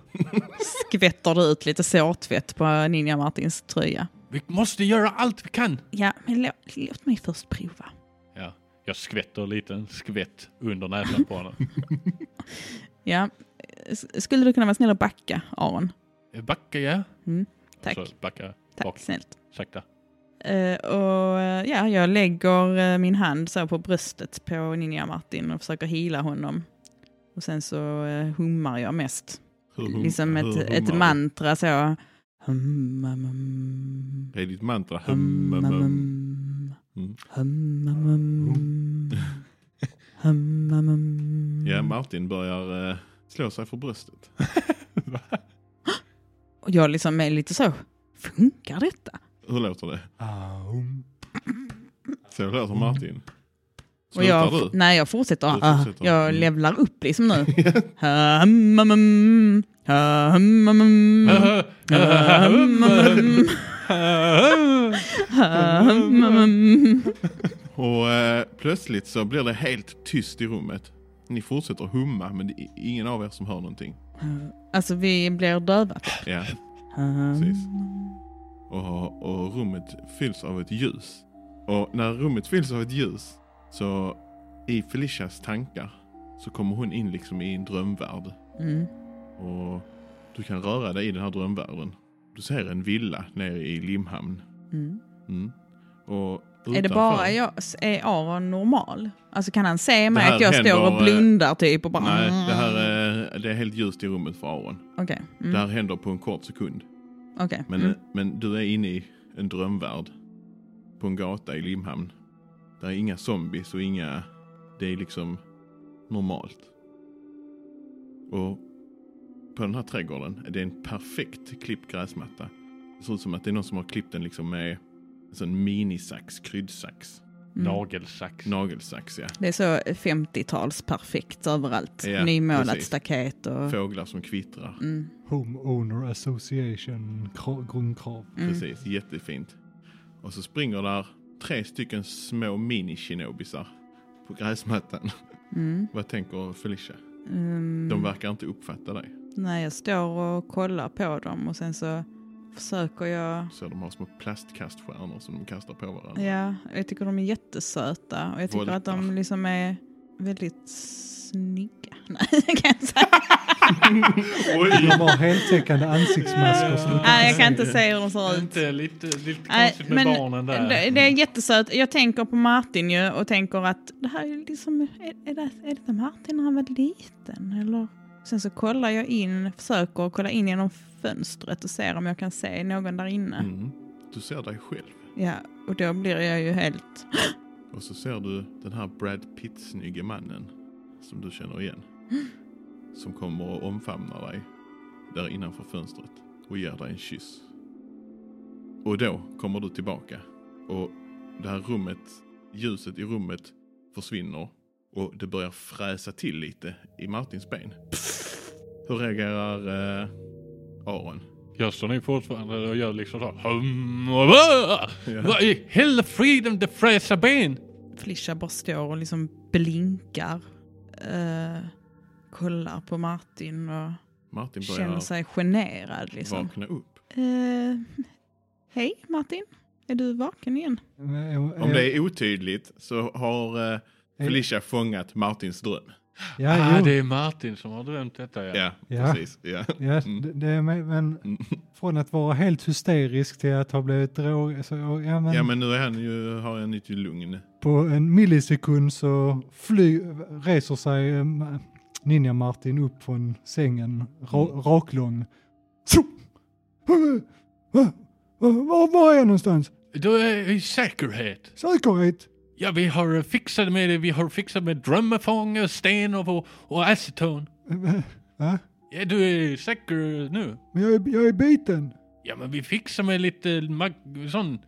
[SPEAKER 2] skvätter det ut lite sårtvätt på Ninja Martins tröja.
[SPEAKER 4] Vi måste göra allt vi kan!
[SPEAKER 2] Ja, men lå, låt mig först prova.
[SPEAKER 4] Ja. Jag skvätter lite, en skvätt under näsan på honom.
[SPEAKER 2] Ja. S- Skulle du kunna vara snäll och backa, Aron?
[SPEAKER 4] Backa ja.
[SPEAKER 2] Tack.
[SPEAKER 4] Så backa
[SPEAKER 2] Tack
[SPEAKER 4] bak.
[SPEAKER 2] snällt.
[SPEAKER 4] sakta.
[SPEAKER 2] Eh, och eh, ja, jag lägger eh, min hand så på bröstet på Ninja Martin och försöker hila honom. Och sen så eh, hummar jag mest.
[SPEAKER 1] Hur hum-
[SPEAKER 2] liksom ett,
[SPEAKER 1] hur
[SPEAKER 2] ett
[SPEAKER 1] hummar
[SPEAKER 2] mantra så. Hum, hum, hum.
[SPEAKER 1] du? Det är ditt mantra. Hum,
[SPEAKER 2] Hum,
[SPEAKER 1] hum, hum.
[SPEAKER 2] hum,
[SPEAKER 1] Mm.
[SPEAKER 2] hum. Hum, hum, hum. Hum, hum, hum.
[SPEAKER 1] Ja, Martin börjar eh, slå sig för bröstet.
[SPEAKER 2] Och jag liksom är lite så, funkar detta?
[SPEAKER 1] Hur låter det?
[SPEAKER 3] Ah, Aum.
[SPEAKER 1] Så låter Martin.
[SPEAKER 2] Mm. Och
[SPEAKER 1] Slutar
[SPEAKER 2] jag,
[SPEAKER 1] du?
[SPEAKER 2] Nej, jag fortsätter.
[SPEAKER 1] Du
[SPEAKER 2] Ah,
[SPEAKER 1] fortsätter.
[SPEAKER 2] Jag
[SPEAKER 1] Mm.
[SPEAKER 2] levlar upp liksom nu. Hum, hum, hum. Hum, hum, hum.
[SPEAKER 4] Mm.
[SPEAKER 2] Hum, hum, hum. Hum, hum, hum.
[SPEAKER 1] Och eh, plötsligt så blir det helt tyst i rummet. Ni fortsätter humma men det är ingen av er som hör någonting.
[SPEAKER 2] Alltså vi blir döva.
[SPEAKER 1] Ja,
[SPEAKER 2] Hum.
[SPEAKER 1] precis. Och, och rummet fylls av ett ljus. Och när rummet fylls av ett ljus så i Felicias tankar så kommer hon in liksom i en drömvärld.
[SPEAKER 2] Mm.
[SPEAKER 1] Och du kan röra dig i den här drömvärlden. Du ser en villa nere i Limhamn.
[SPEAKER 2] Mm.
[SPEAKER 1] Mm. Och
[SPEAKER 2] Är det
[SPEAKER 1] utanför-
[SPEAKER 2] bara jag, är Aron normal? Alltså kan han se
[SPEAKER 1] Det
[SPEAKER 2] mig
[SPEAKER 1] här
[SPEAKER 2] att jag
[SPEAKER 1] händer,
[SPEAKER 2] står och
[SPEAKER 1] eh,
[SPEAKER 2] blundar typ och bara...
[SPEAKER 1] Nej, det här är, det är helt ljust i rummet för Aron.
[SPEAKER 2] Okej. Mm.
[SPEAKER 1] Det här händer på en kort sekund.
[SPEAKER 2] okej,
[SPEAKER 1] Men,
[SPEAKER 2] mm.
[SPEAKER 1] men du är inne i en drömvärld. På en gata i Limhamn. Där är inga zombies och inga... Det är liksom normalt. Och på den här trädgården är det en perfekt klippt gräsmatta. Det ser ut som att det är någon som har klippt den liksom med en sån minisax, kryddsax,
[SPEAKER 2] Mm.
[SPEAKER 4] Nagelsax.
[SPEAKER 1] nagelsax ja.
[SPEAKER 2] Det är så 50-tals perfekt överallt.
[SPEAKER 1] Ja,
[SPEAKER 2] Nymålat
[SPEAKER 1] precis.
[SPEAKER 2] staket och...
[SPEAKER 1] Fåglar som kvittrar.
[SPEAKER 2] Mm.
[SPEAKER 3] Homeowner Association kra- grundkrav.
[SPEAKER 2] Mm.
[SPEAKER 1] Precis, jättefint. Och så springer där tre stycken små mini-shinobisar på gräsmattan.
[SPEAKER 2] Mm.
[SPEAKER 1] Vad tänker Felicia?
[SPEAKER 2] Mm.
[SPEAKER 1] De verkar inte uppfatta dig.
[SPEAKER 2] Nej, jag står och kollar på dem och sen så försöker jag...
[SPEAKER 1] Så de har små plastkaststjärnor som de kastar på varandra.
[SPEAKER 2] Ja, jag tycker de är jättesöta och jag tycker att de
[SPEAKER 1] Voltar.
[SPEAKER 2] liksom är väldigt snygga. Nej, jag kan inte säga.
[SPEAKER 3] De har heltäckande ansiktsmasker. så du kan
[SPEAKER 2] Nej, jag kan inte
[SPEAKER 3] se.
[SPEAKER 2] säga hur de ser ut.
[SPEAKER 4] Inte lite, lite
[SPEAKER 2] Nej,
[SPEAKER 4] konstigt med barnen där.
[SPEAKER 2] det- Det är jättesöt. Jag tänker på Martin ju och tänker att det här är liksom, är, är, det, är detta Martin när han var liten eller? Sen så kollar jag in, försöker kolla in genom fönstret och ser om jag kan se någon där inne.
[SPEAKER 1] Mm. Du ser dig själv.
[SPEAKER 2] Ja, och då blir jag ju helt,
[SPEAKER 1] Och så ser du den här Brad Pitt-snygge mannen som du känner igen. Som kommer och omfamnar dig där innanför fönstret och ger dig en kyss. Och då kommer du tillbaka och det här rummet, ljuset i rummet försvinner och det börjar fräsa till lite i Martins ben. Hur reagerar eh, Aron?
[SPEAKER 4] Jag står nu fortfarande och gör liksom så. här, Hum, och va? Vad i hela friden det fräser ben?
[SPEAKER 2] Felicia bara står och liksom blinkar. eh, kollar på Martin och
[SPEAKER 1] Martin
[SPEAKER 2] känner
[SPEAKER 1] börjar
[SPEAKER 2] sig generad liksom.
[SPEAKER 1] vakna upp.
[SPEAKER 2] Eh, Hej Martin, är du vaken igen?
[SPEAKER 1] Om det är otydligt så har eh, Felicia fångat Martins dröm.
[SPEAKER 3] Ja,
[SPEAKER 4] Ah,
[SPEAKER 3] jo.
[SPEAKER 4] det är Martin som har drömt detta ja.
[SPEAKER 1] Ja,
[SPEAKER 3] Ja.
[SPEAKER 1] precis. Ja.
[SPEAKER 3] Ja,
[SPEAKER 1] Mm.
[SPEAKER 3] det, det är med, men
[SPEAKER 1] Mm.
[SPEAKER 3] från att vara helt hysterisk till att ha blivit drog, så, ja, men,
[SPEAKER 1] Ja men nu är han ju, har han inte lugn.
[SPEAKER 3] på en millisekund så fly, reser sig um, Ninja Martin upp från sängen, ra,
[SPEAKER 1] Mm.
[SPEAKER 3] raklång. Äh, Så! Var, var, var är jag någonstans?
[SPEAKER 4] Du är i säkerhet.
[SPEAKER 3] Säkerhet?
[SPEAKER 4] Ja, vi har fixat med det. Vi har fixat med drömmefångare, sten och, och aceton.
[SPEAKER 3] Va?
[SPEAKER 4] Ja, du är säker nu.
[SPEAKER 3] Äh, Men jag är, jag är biten.
[SPEAKER 4] Ja, men vi fixar med lite mag... sån... eh,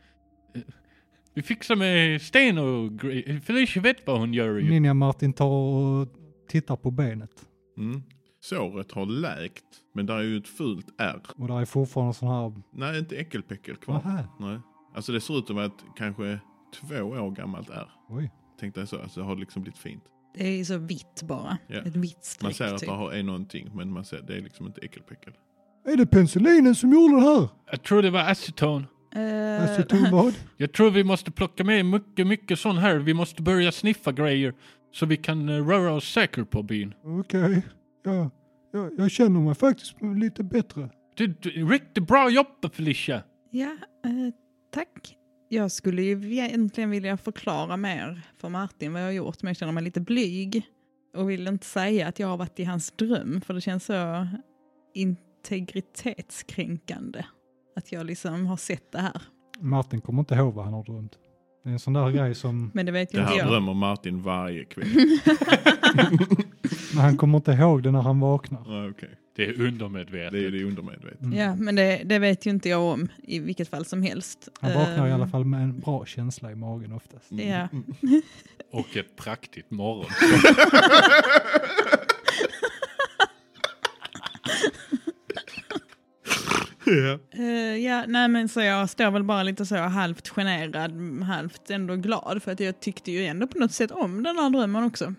[SPEAKER 4] Vi fixar med sten och gre- Felicia vet vad hon gör ju.
[SPEAKER 3] Ninja Martin tar och tittar på benet.
[SPEAKER 1] Mm. Såret har läkt, men där är ju ett fult ärr.
[SPEAKER 3] Och där är fortfarande sån här...
[SPEAKER 1] Nej, inte äckelpäckel kvar.
[SPEAKER 3] Aha.
[SPEAKER 1] Nej. Alltså det ser ut som ett kanske två år gammalt ärr.
[SPEAKER 3] Oj.
[SPEAKER 1] Tänk dig så, alltså det har liksom blivit fint.
[SPEAKER 2] Det är så vitt bara.
[SPEAKER 1] Ja.
[SPEAKER 2] Ett vitt
[SPEAKER 1] Man
[SPEAKER 2] streck
[SPEAKER 1] ser att
[SPEAKER 2] typ.
[SPEAKER 1] det har, är någonting, men man ser, det är liksom inte äckelpäckel.
[SPEAKER 3] Är det penicillinen som gjorde det här? Alltså,
[SPEAKER 4] Jag tror det var aceton.
[SPEAKER 2] Eh,
[SPEAKER 3] Aceton vad?
[SPEAKER 4] Jag tror vi måste plocka med mycket, mycket sån här. Vi måste börja sniffa grejer så vi kan eh, röra oss säkert på byn.
[SPEAKER 3] Okej. Ja, ja, jag känner mig faktiskt lite bättre.
[SPEAKER 4] Du, du, riktigt bra jobbat Felicia!
[SPEAKER 2] ja, eh, tack. Jag skulle ju egentligen vilja förklara mer för Martin vad jag har gjort, men jag känner mig lite blyg och vill inte säga att jag har varit i hans dröm, för det känns så integritetskränkande att jag liksom har sett det här.
[SPEAKER 3] Martin kommer inte ihåg vad han har drömt. Det är en sån där grej som,
[SPEAKER 2] Men det vet ju
[SPEAKER 1] Det
[SPEAKER 2] inte
[SPEAKER 1] här
[SPEAKER 2] jag.
[SPEAKER 1] drömmer Martin varje kväll.
[SPEAKER 3] men han kommer inte ihåg det när han vaknar.
[SPEAKER 1] Ja, okej.
[SPEAKER 4] Det är undermedvetet.
[SPEAKER 1] Det är det undermedvetna.
[SPEAKER 3] Mm.
[SPEAKER 2] Ja, men det, det vet ju inte jag om i vilket fall som helst.
[SPEAKER 3] Han vaknar i alla
[SPEAKER 2] Ehm,
[SPEAKER 3] fall med en bra känsla i magen oftast.
[SPEAKER 1] Mm.
[SPEAKER 2] Ja.
[SPEAKER 4] Och ett praktiskt morgon.
[SPEAKER 1] Ja.
[SPEAKER 2] Eh, ja, nej men så jag står väl bara lite så halvt generad, halvt ändå glad för att jag tyckte ju ändå på något sätt om den här drömmen också.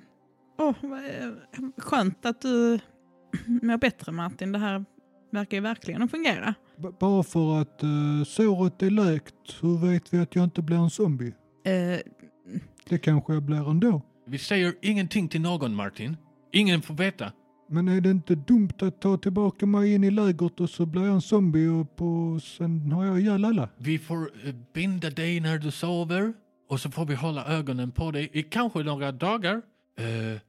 [SPEAKER 2] Åh, vad, eh, skönt att du mår bättre Martin, det här verkar ju verkligen fungera.
[SPEAKER 3] B- bara för att uh, såret är läkt, hur vet vi att jag inte blir en zombie?
[SPEAKER 2] Eh,
[SPEAKER 3] Det kanske jag blir ändå.
[SPEAKER 4] Vi säger ingenting till någon, Martin. Ingen får veta.
[SPEAKER 3] Men är det inte dumt att ta tillbaka mig in i lägret och så blir jag en zombie och på, sen har jag ihjäl alla?
[SPEAKER 4] Vi får eh, binda dig när du sover och så får vi hålla ögonen på dig i kanske några dagar. Eh,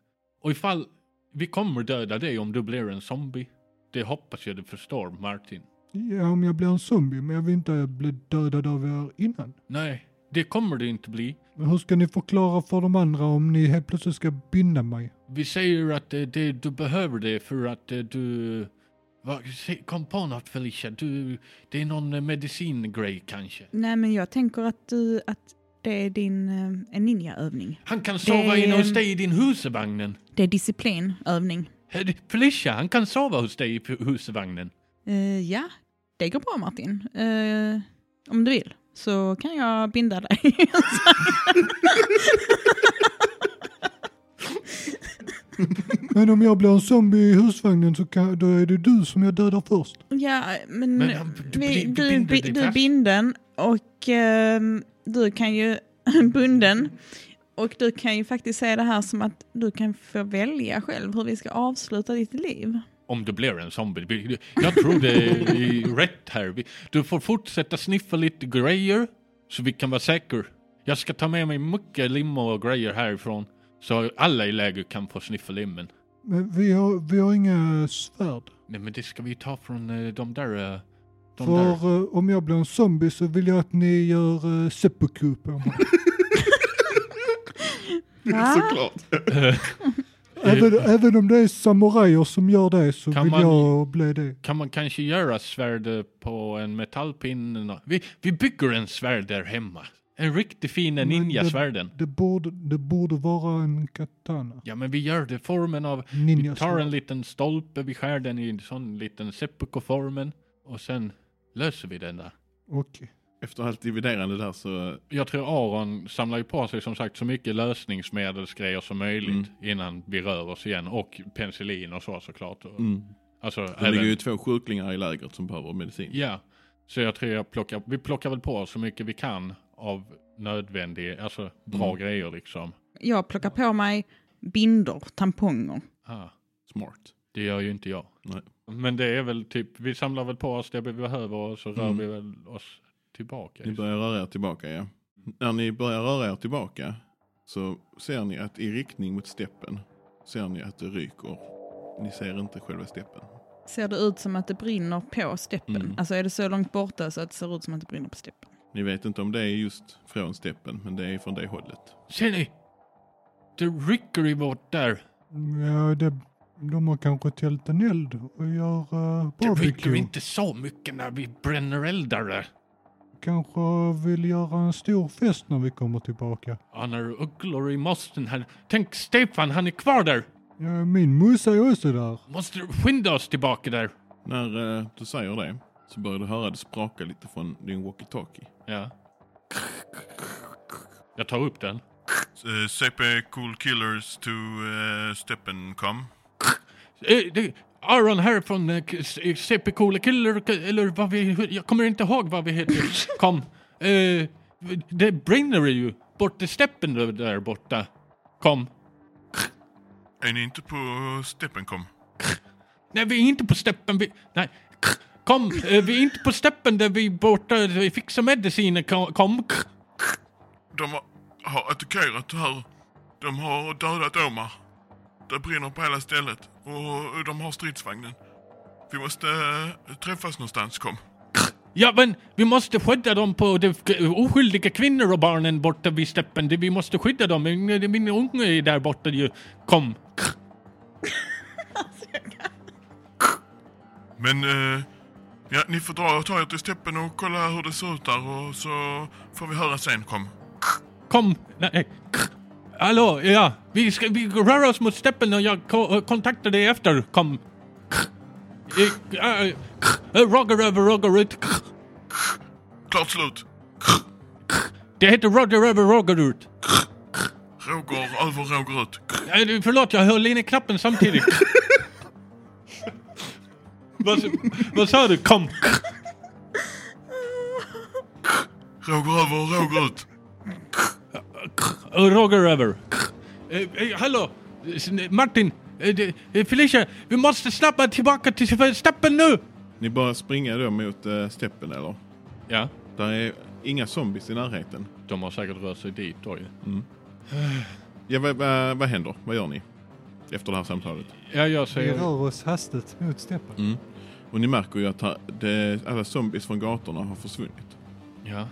[SPEAKER 4] och ifall vi kommer döda dig om du blir en zombie. Det hoppas jag du förstår, Martin.
[SPEAKER 3] Ja, om jag blir en zombie, men jag vill inte bli dödad av er innan.
[SPEAKER 4] Nej, det kommer du inte bli.
[SPEAKER 3] Men hur ska ni förklara för de andra om ni helt plötsligt ska binda mig?
[SPEAKER 4] Vi säger att eh, det, du behöver det för att eh, du... Va, se- kom på något Felicia, du, det är någon eh, medicingrej kanske.
[SPEAKER 2] nej men jag tänker att, du, att det är din eh, en ninjaövning.
[SPEAKER 4] Han kan sova
[SPEAKER 2] Det-
[SPEAKER 4] inne hos dig i din husvagnen.
[SPEAKER 2] Det är disciplinövning.
[SPEAKER 4] Eh, Felicia, han kan sova hos dig i p- husvagnen.
[SPEAKER 2] Eh, ja, det går bra Martin. Eh, om du vill så kan jag binda dig.
[SPEAKER 3] Men om jag blir en zombie i husvagnen så kan, då är det du som jag dödar först.
[SPEAKER 2] Ja, men,
[SPEAKER 4] Men han- du
[SPEAKER 2] vi,
[SPEAKER 4] bli-
[SPEAKER 2] du,
[SPEAKER 4] binder
[SPEAKER 2] bi-
[SPEAKER 4] dig
[SPEAKER 2] du är
[SPEAKER 4] fast.
[SPEAKER 2] binden och ehm, du kan ju bunden och du kan ju faktiskt säga det här som att du kan få välja själv hur vi ska avsluta ditt liv.
[SPEAKER 4] Om du blir en zombie. Vi- Jag tror det är rätt här. Vi- Du får fortsätta sniffa lite grejer så vi kan vara säkra. Jag ska ta med mig mycket lim och grejer härifrån så alla i lägret kan få sniffa limmen.
[SPEAKER 3] Men vi har, vi har inga svärd.
[SPEAKER 4] Nej men det ska vi ta från eh, de där... eh, De
[SPEAKER 3] för
[SPEAKER 4] där.
[SPEAKER 3] eh, om jag blir en zombie så vill jag att ni gör uh, seppuku på mig.
[SPEAKER 1] Såklart.
[SPEAKER 3] även, även om det är samurajer som gör det så
[SPEAKER 4] Kan
[SPEAKER 3] vill
[SPEAKER 4] man-
[SPEAKER 3] jag bli det.
[SPEAKER 4] Kan man kanske göra svärd eh, på en metallpinne? nå- Vi, vi bygger en svärd där hemma. En riktigt fin
[SPEAKER 3] Men det-
[SPEAKER 4] ninjasvärden.
[SPEAKER 3] Det borde, det borde vara en katana.
[SPEAKER 4] Ja men vi gör det formen av Vi
[SPEAKER 3] Ninja
[SPEAKER 4] tar en liten stolpe, vi skär den i en sån liten seppuku-formen och sen löser vi den där.
[SPEAKER 3] Okej.
[SPEAKER 1] Efter allt dividerande där så eh,
[SPEAKER 4] Jag tror Aron samlar ju på sig som sagt så mycket lösningsmedelsgrejer som möjligt
[SPEAKER 1] Mm.
[SPEAKER 4] innan vi rör oss igen och penicillin och så såklart. Och- Alltså,
[SPEAKER 1] det
[SPEAKER 4] även,
[SPEAKER 1] Mm. ligger ju två sjuklingar i lägret som behöver medicin.
[SPEAKER 4] Ja, så jag tror jag plockar, vi plockar väl på oss så mycket vi kan av nödvändiga, alltså bra
[SPEAKER 1] Mm.
[SPEAKER 4] grejer liksom.
[SPEAKER 2] Jag plockar på mig bindor, tamponger.
[SPEAKER 4] Ah,
[SPEAKER 1] Smart.
[SPEAKER 4] det gör ju inte jag.
[SPEAKER 1] Nej.
[SPEAKER 4] Men det är väl typ, vi samlar väl på oss det vi behöver och så rör
[SPEAKER 1] Mm.
[SPEAKER 4] vi väl oss tillbaka. liksom.
[SPEAKER 1] Ni börjar röra er tillbaka ja. När ni börjar röra er tillbaka så ser ni att i riktning mot steppen ser ni att det ryker. Ni ser inte själva steppen.
[SPEAKER 2] Ser det ut som att det brinner på steppen?
[SPEAKER 1] Mm.
[SPEAKER 2] Alltså är det så långt borta så att det ser ut som att det brinner på steppen?
[SPEAKER 1] Ni vet inte om det är just från steppen men det är från det hållet.
[SPEAKER 4] Ser ni? Det rycker i vårt där.
[SPEAKER 3] Ja, det, de har kanske tält en eld och gör uh,
[SPEAKER 4] Det rycker
[SPEAKER 3] barbecue.
[SPEAKER 4] inte så mycket när vi bränner eldar där.
[SPEAKER 3] Kanske vill göra en stor fest när vi kommer tillbaka.
[SPEAKER 4] Ja, när ugglor i mossen här. Tänk Stefan, han är kvar där.
[SPEAKER 3] Ja, min musa är också där.
[SPEAKER 4] Måste skynda oss tillbaka där.
[SPEAKER 1] När eh, du säger det så börjar du höra det spraka lite från din walkie-talkie.
[SPEAKER 4] Ja. Jag tar upp den.
[SPEAKER 1] CP eh, Cool Killers to Steppen come.
[SPEAKER 4] Eh, det- Aron här från eh, K- S- eh, CP Coola Killer, eller vad vi... Jag kommer inte ihåg vad vi heter. Kom. Eh, det brinner ju. Bort i steppen där- där borta. Kom.
[SPEAKER 1] Är ni inte på steppen kom?
[SPEAKER 4] Nej, vi är inte på steppen. Vi... Nej. Kom, eh, vi är inte på steppen där vi är borta. Vi fixar mediciner. Kom, kom.
[SPEAKER 1] De har- har attackerat här. De har dödat Omar. Det brinner på hela stället. Och de har stridsvagnen. Vi måste eh, träffas någonstans, kom.
[SPEAKER 4] Ja, men vi måste skydda dem på de oskyldiga kvinnor och barnen borta vid steppen. Det- Vi måste skydda dem. Min, min unge är där borta ju. Kom.
[SPEAKER 1] Men, eh, ja, ni får dra och ta er till steppen och kolla hur det ser ut där och så får vi höra sen, kom.
[SPEAKER 4] Kom. Nej. Hallå, ja. Vi, ska, vi rör oss mot steppen och jag ko- kontaktar dig efter. Kom. Eh, eh, eh, Roger över Roger ut.
[SPEAKER 1] Klart slut.
[SPEAKER 4] Det heter Roger över Roger ut.
[SPEAKER 1] Roger över Roger ut.
[SPEAKER 4] Eh, Förlåt, jag höll inne knappen samtidigt. vad, vad sa du? Kom.
[SPEAKER 1] Roger över Roger ut.
[SPEAKER 4] Och Roger över. Eh, eh, hallå, S- Martin. Eh, det- eh, Felicia, vi måste snabbt tillbaka till steppen nu!
[SPEAKER 1] Ni bara springer då mot eh, steppen, eller?
[SPEAKER 4] Ja,
[SPEAKER 1] Där är inga zombies i närheten.
[SPEAKER 4] de har säkert rört sig dit då ju.
[SPEAKER 1] Ja, vad, vad, vad händer? Vad gör ni? Efter det här samtalet.
[SPEAKER 4] Ja, jag
[SPEAKER 3] Vi
[SPEAKER 4] säger...
[SPEAKER 3] rör oss hastigt mot steppen.
[SPEAKER 4] Mm.
[SPEAKER 1] Och ni märker ju att här- det, alla zombies från gatorna har försvunnit.
[SPEAKER 4] Ja.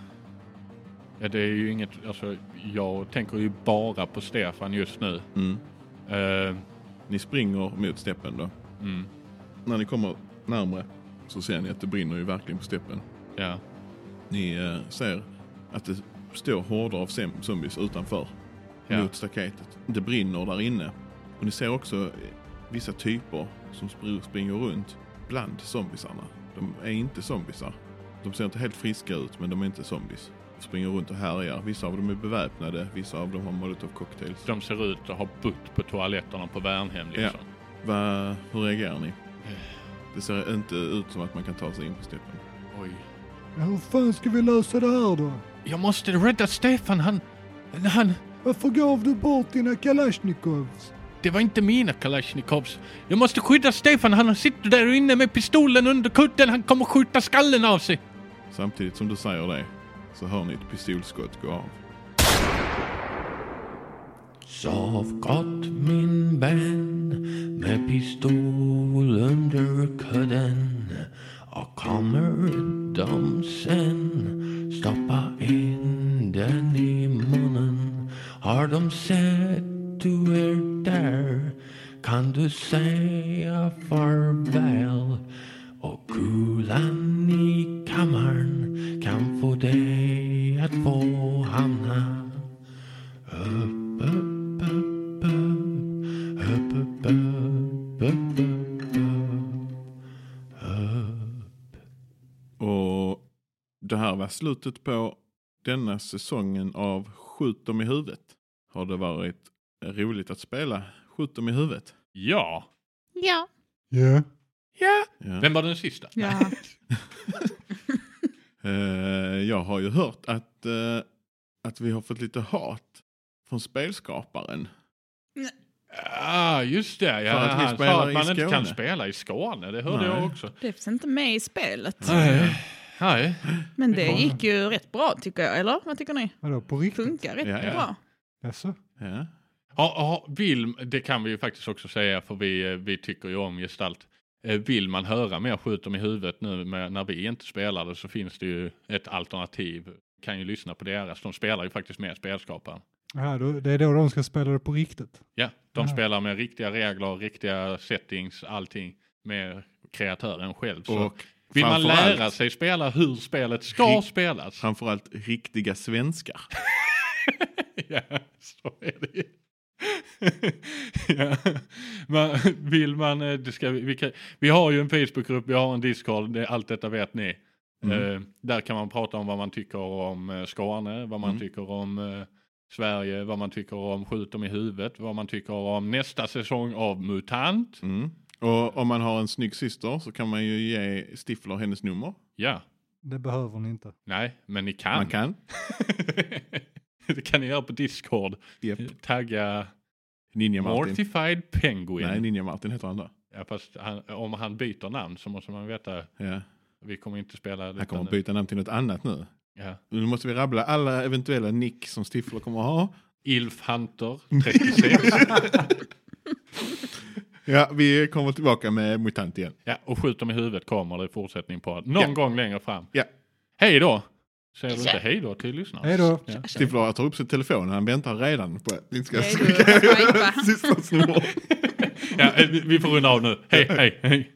[SPEAKER 4] ja, det är ju inget... Alltså, jag tänker ju bara på Stefan just nu.
[SPEAKER 1] Mm.
[SPEAKER 4] Eh,
[SPEAKER 1] Ni springer mot steppen då.
[SPEAKER 4] mm,
[SPEAKER 1] När ni kommer närmare så ser ni att det brinner ju verkligen på steppen.
[SPEAKER 4] ja.
[SPEAKER 1] Ni eh, ser att det står horder av sem- zombies utanför
[SPEAKER 4] Ja.
[SPEAKER 1] mot staketet. Det brinner där inne. Och ni ser också eh, vissa typer som spr- springer runt bland zombisarna. De är inte zombisar. De ser inte helt friska ut, men de är inte zombies. De springer runt och härjar. Vissa av dem är beväpnade, vissa av dem har molotov-cocktails.
[SPEAKER 4] De ser ut att ha butt på toaletterna på Värnhem liksom.
[SPEAKER 1] Va, hur reagerar ni? Det ser inte ut som att man kan ta sig in på steppen.
[SPEAKER 4] Oj.
[SPEAKER 3] Ja, Hur fan ska vi lösa det här då?
[SPEAKER 4] Jag måste rädda Stefan, han... Han...
[SPEAKER 3] Varför gav du bort dina kalasjnikovs?
[SPEAKER 4] Det var inte mina Kalashnikovs. Jag måste skydda Stefan, han sitter där inne med pistolen under kudden. Han kommer skjuta skallen av sig.
[SPEAKER 1] Samtidigt som du säger det så hör ni ett pistolskott gå av.
[SPEAKER 5] Sov gott min vän med pistol under kudden och kommer de sen stoppa in den i munnen har de sett du är där kan du säga farväl och kulan i kammaren kan få dig att få hamna Upp, upp, upp, upp. Upp, upp, upp, upp, upp, upp.
[SPEAKER 1] Och det här var slutet på denna säsongen av Skjut dem i huvudet. Har det varit roligt att spela Skjut dem i huvudet?
[SPEAKER 4] Ja.
[SPEAKER 2] Ja.
[SPEAKER 3] Ja.
[SPEAKER 4] Ja.
[SPEAKER 1] Ja.
[SPEAKER 4] Vem var den sista?
[SPEAKER 2] ja.
[SPEAKER 1] Eh, jag har ju hört att, eh, att vi har fått lite hat från spelskaparen.
[SPEAKER 4] Ah, just det. Ja,
[SPEAKER 1] För att vi
[SPEAKER 4] han sa
[SPEAKER 1] spelar
[SPEAKER 4] att
[SPEAKER 1] i
[SPEAKER 4] man inte
[SPEAKER 1] Skåne.
[SPEAKER 4] kan spela i Skåne. Det hörde
[SPEAKER 1] Nej.
[SPEAKER 4] jag också.
[SPEAKER 2] Det finns inte med i spelet.
[SPEAKER 4] Nej. Nej.
[SPEAKER 2] Men det gick ju rätt bra tycker jag, eller? Vad tycker ni?
[SPEAKER 3] Vadå, på riktigt?
[SPEAKER 2] Funkar rätt
[SPEAKER 1] Ja, ja.
[SPEAKER 2] bra.
[SPEAKER 3] Jaså?
[SPEAKER 1] Ja.
[SPEAKER 4] Ja, ja, vill, det kan vi ju faktiskt också säga för vi, eh, vi tycker ju om gestalt. Eh, Vill man höra mer Skjut dem i huvudet nu med, när vi inte spelade så finns det ju ett alternativ. Kan ju lyssna på deras. De spelar ju faktiskt med spelskaparen.
[SPEAKER 3] Ja, då, det är då de ska spela det på riktigt.
[SPEAKER 4] Ja, de
[SPEAKER 3] Ja.
[SPEAKER 4] spelar med riktiga regler, riktiga settings, allting med kreatören själv. Så
[SPEAKER 1] Och
[SPEAKER 4] vill man
[SPEAKER 1] framförallt-
[SPEAKER 4] lära sig spela hur spelet ska
[SPEAKER 1] Rik-
[SPEAKER 4] spelas.
[SPEAKER 1] Framförallt riktiga svenskar.
[SPEAKER 4] ja, så är det ju. ja. man, vill man, eh, det ska, vi- vi, kan, vi har ju en Facebookgrupp, vi har en Discord, det, allt detta vet ni.
[SPEAKER 1] Mm.
[SPEAKER 4] Eh, där kan man prata om vad man tycker om eh, Skåne, vad man
[SPEAKER 1] Mm.
[SPEAKER 4] tycker om eh, Sverige, vad man tycker om Skjut dem i huvudet, vad man tycker om nästa säsong av MUTANT.
[SPEAKER 1] Mm. Och om man har en snygg syster så kan man ju ge Stifler hennes nummer.
[SPEAKER 4] Ja,
[SPEAKER 3] Det behöver ni inte.
[SPEAKER 4] nej, men ni kan.
[SPEAKER 1] Man kan.
[SPEAKER 4] det kan ni göra på Discord.
[SPEAKER 1] Yep.
[SPEAKER 4] Tagga
[SPEAKER 1] Ninja Martin.
[SPEAKER 4] Mortified Penguin.
[SPEAKER 1] Nej, Ninja Martin heter han då.
[SPEAKER 4] Ja, fast han, om han byter namn så måste man veta
[SPEAKER 1] Ja.
[SPEAKER 4] Vi kommer inte spela det.
[SPEAKER 1] Han kommer
[SPEAKER 4] utan-
[SPEAKER 1] att byta namn till något annat nu.
[SPEAKER 4] Ja.
[SPEAKER 1] Nu måste vi rabbla alla eventuella nick som Stifler kommer att ha.
[SPEAKER 4] Ilf Hunter 36.
[SPEAKER 1] Ja, vi kommer tillbaka med MUTANT igen.
[SPEAKER 4] ja, och skjut dem i huvudet kommer det i fortsättning på. Någon
[SPEAKER 1] Ja.
[SPEAKER 4] gång längre fram.
[SPEAKER 1] Ja.
[SPEAKER 4] Hej då! Säger du inte hej då till lyssnarna?
[SPEAKER 3] Hej då.
[SPEAKER 4] Ja.
[SPEAKER 1] Stifler tar upp sin telefon, han väntar redan på att ni ska
[SPEAKER 2] Hej då, swipa.
[SPEAKER 1] Sisters nummer.
[SPEAKER 4] Ja, eh, vi vi får runda av nu. Hej, hej, hej.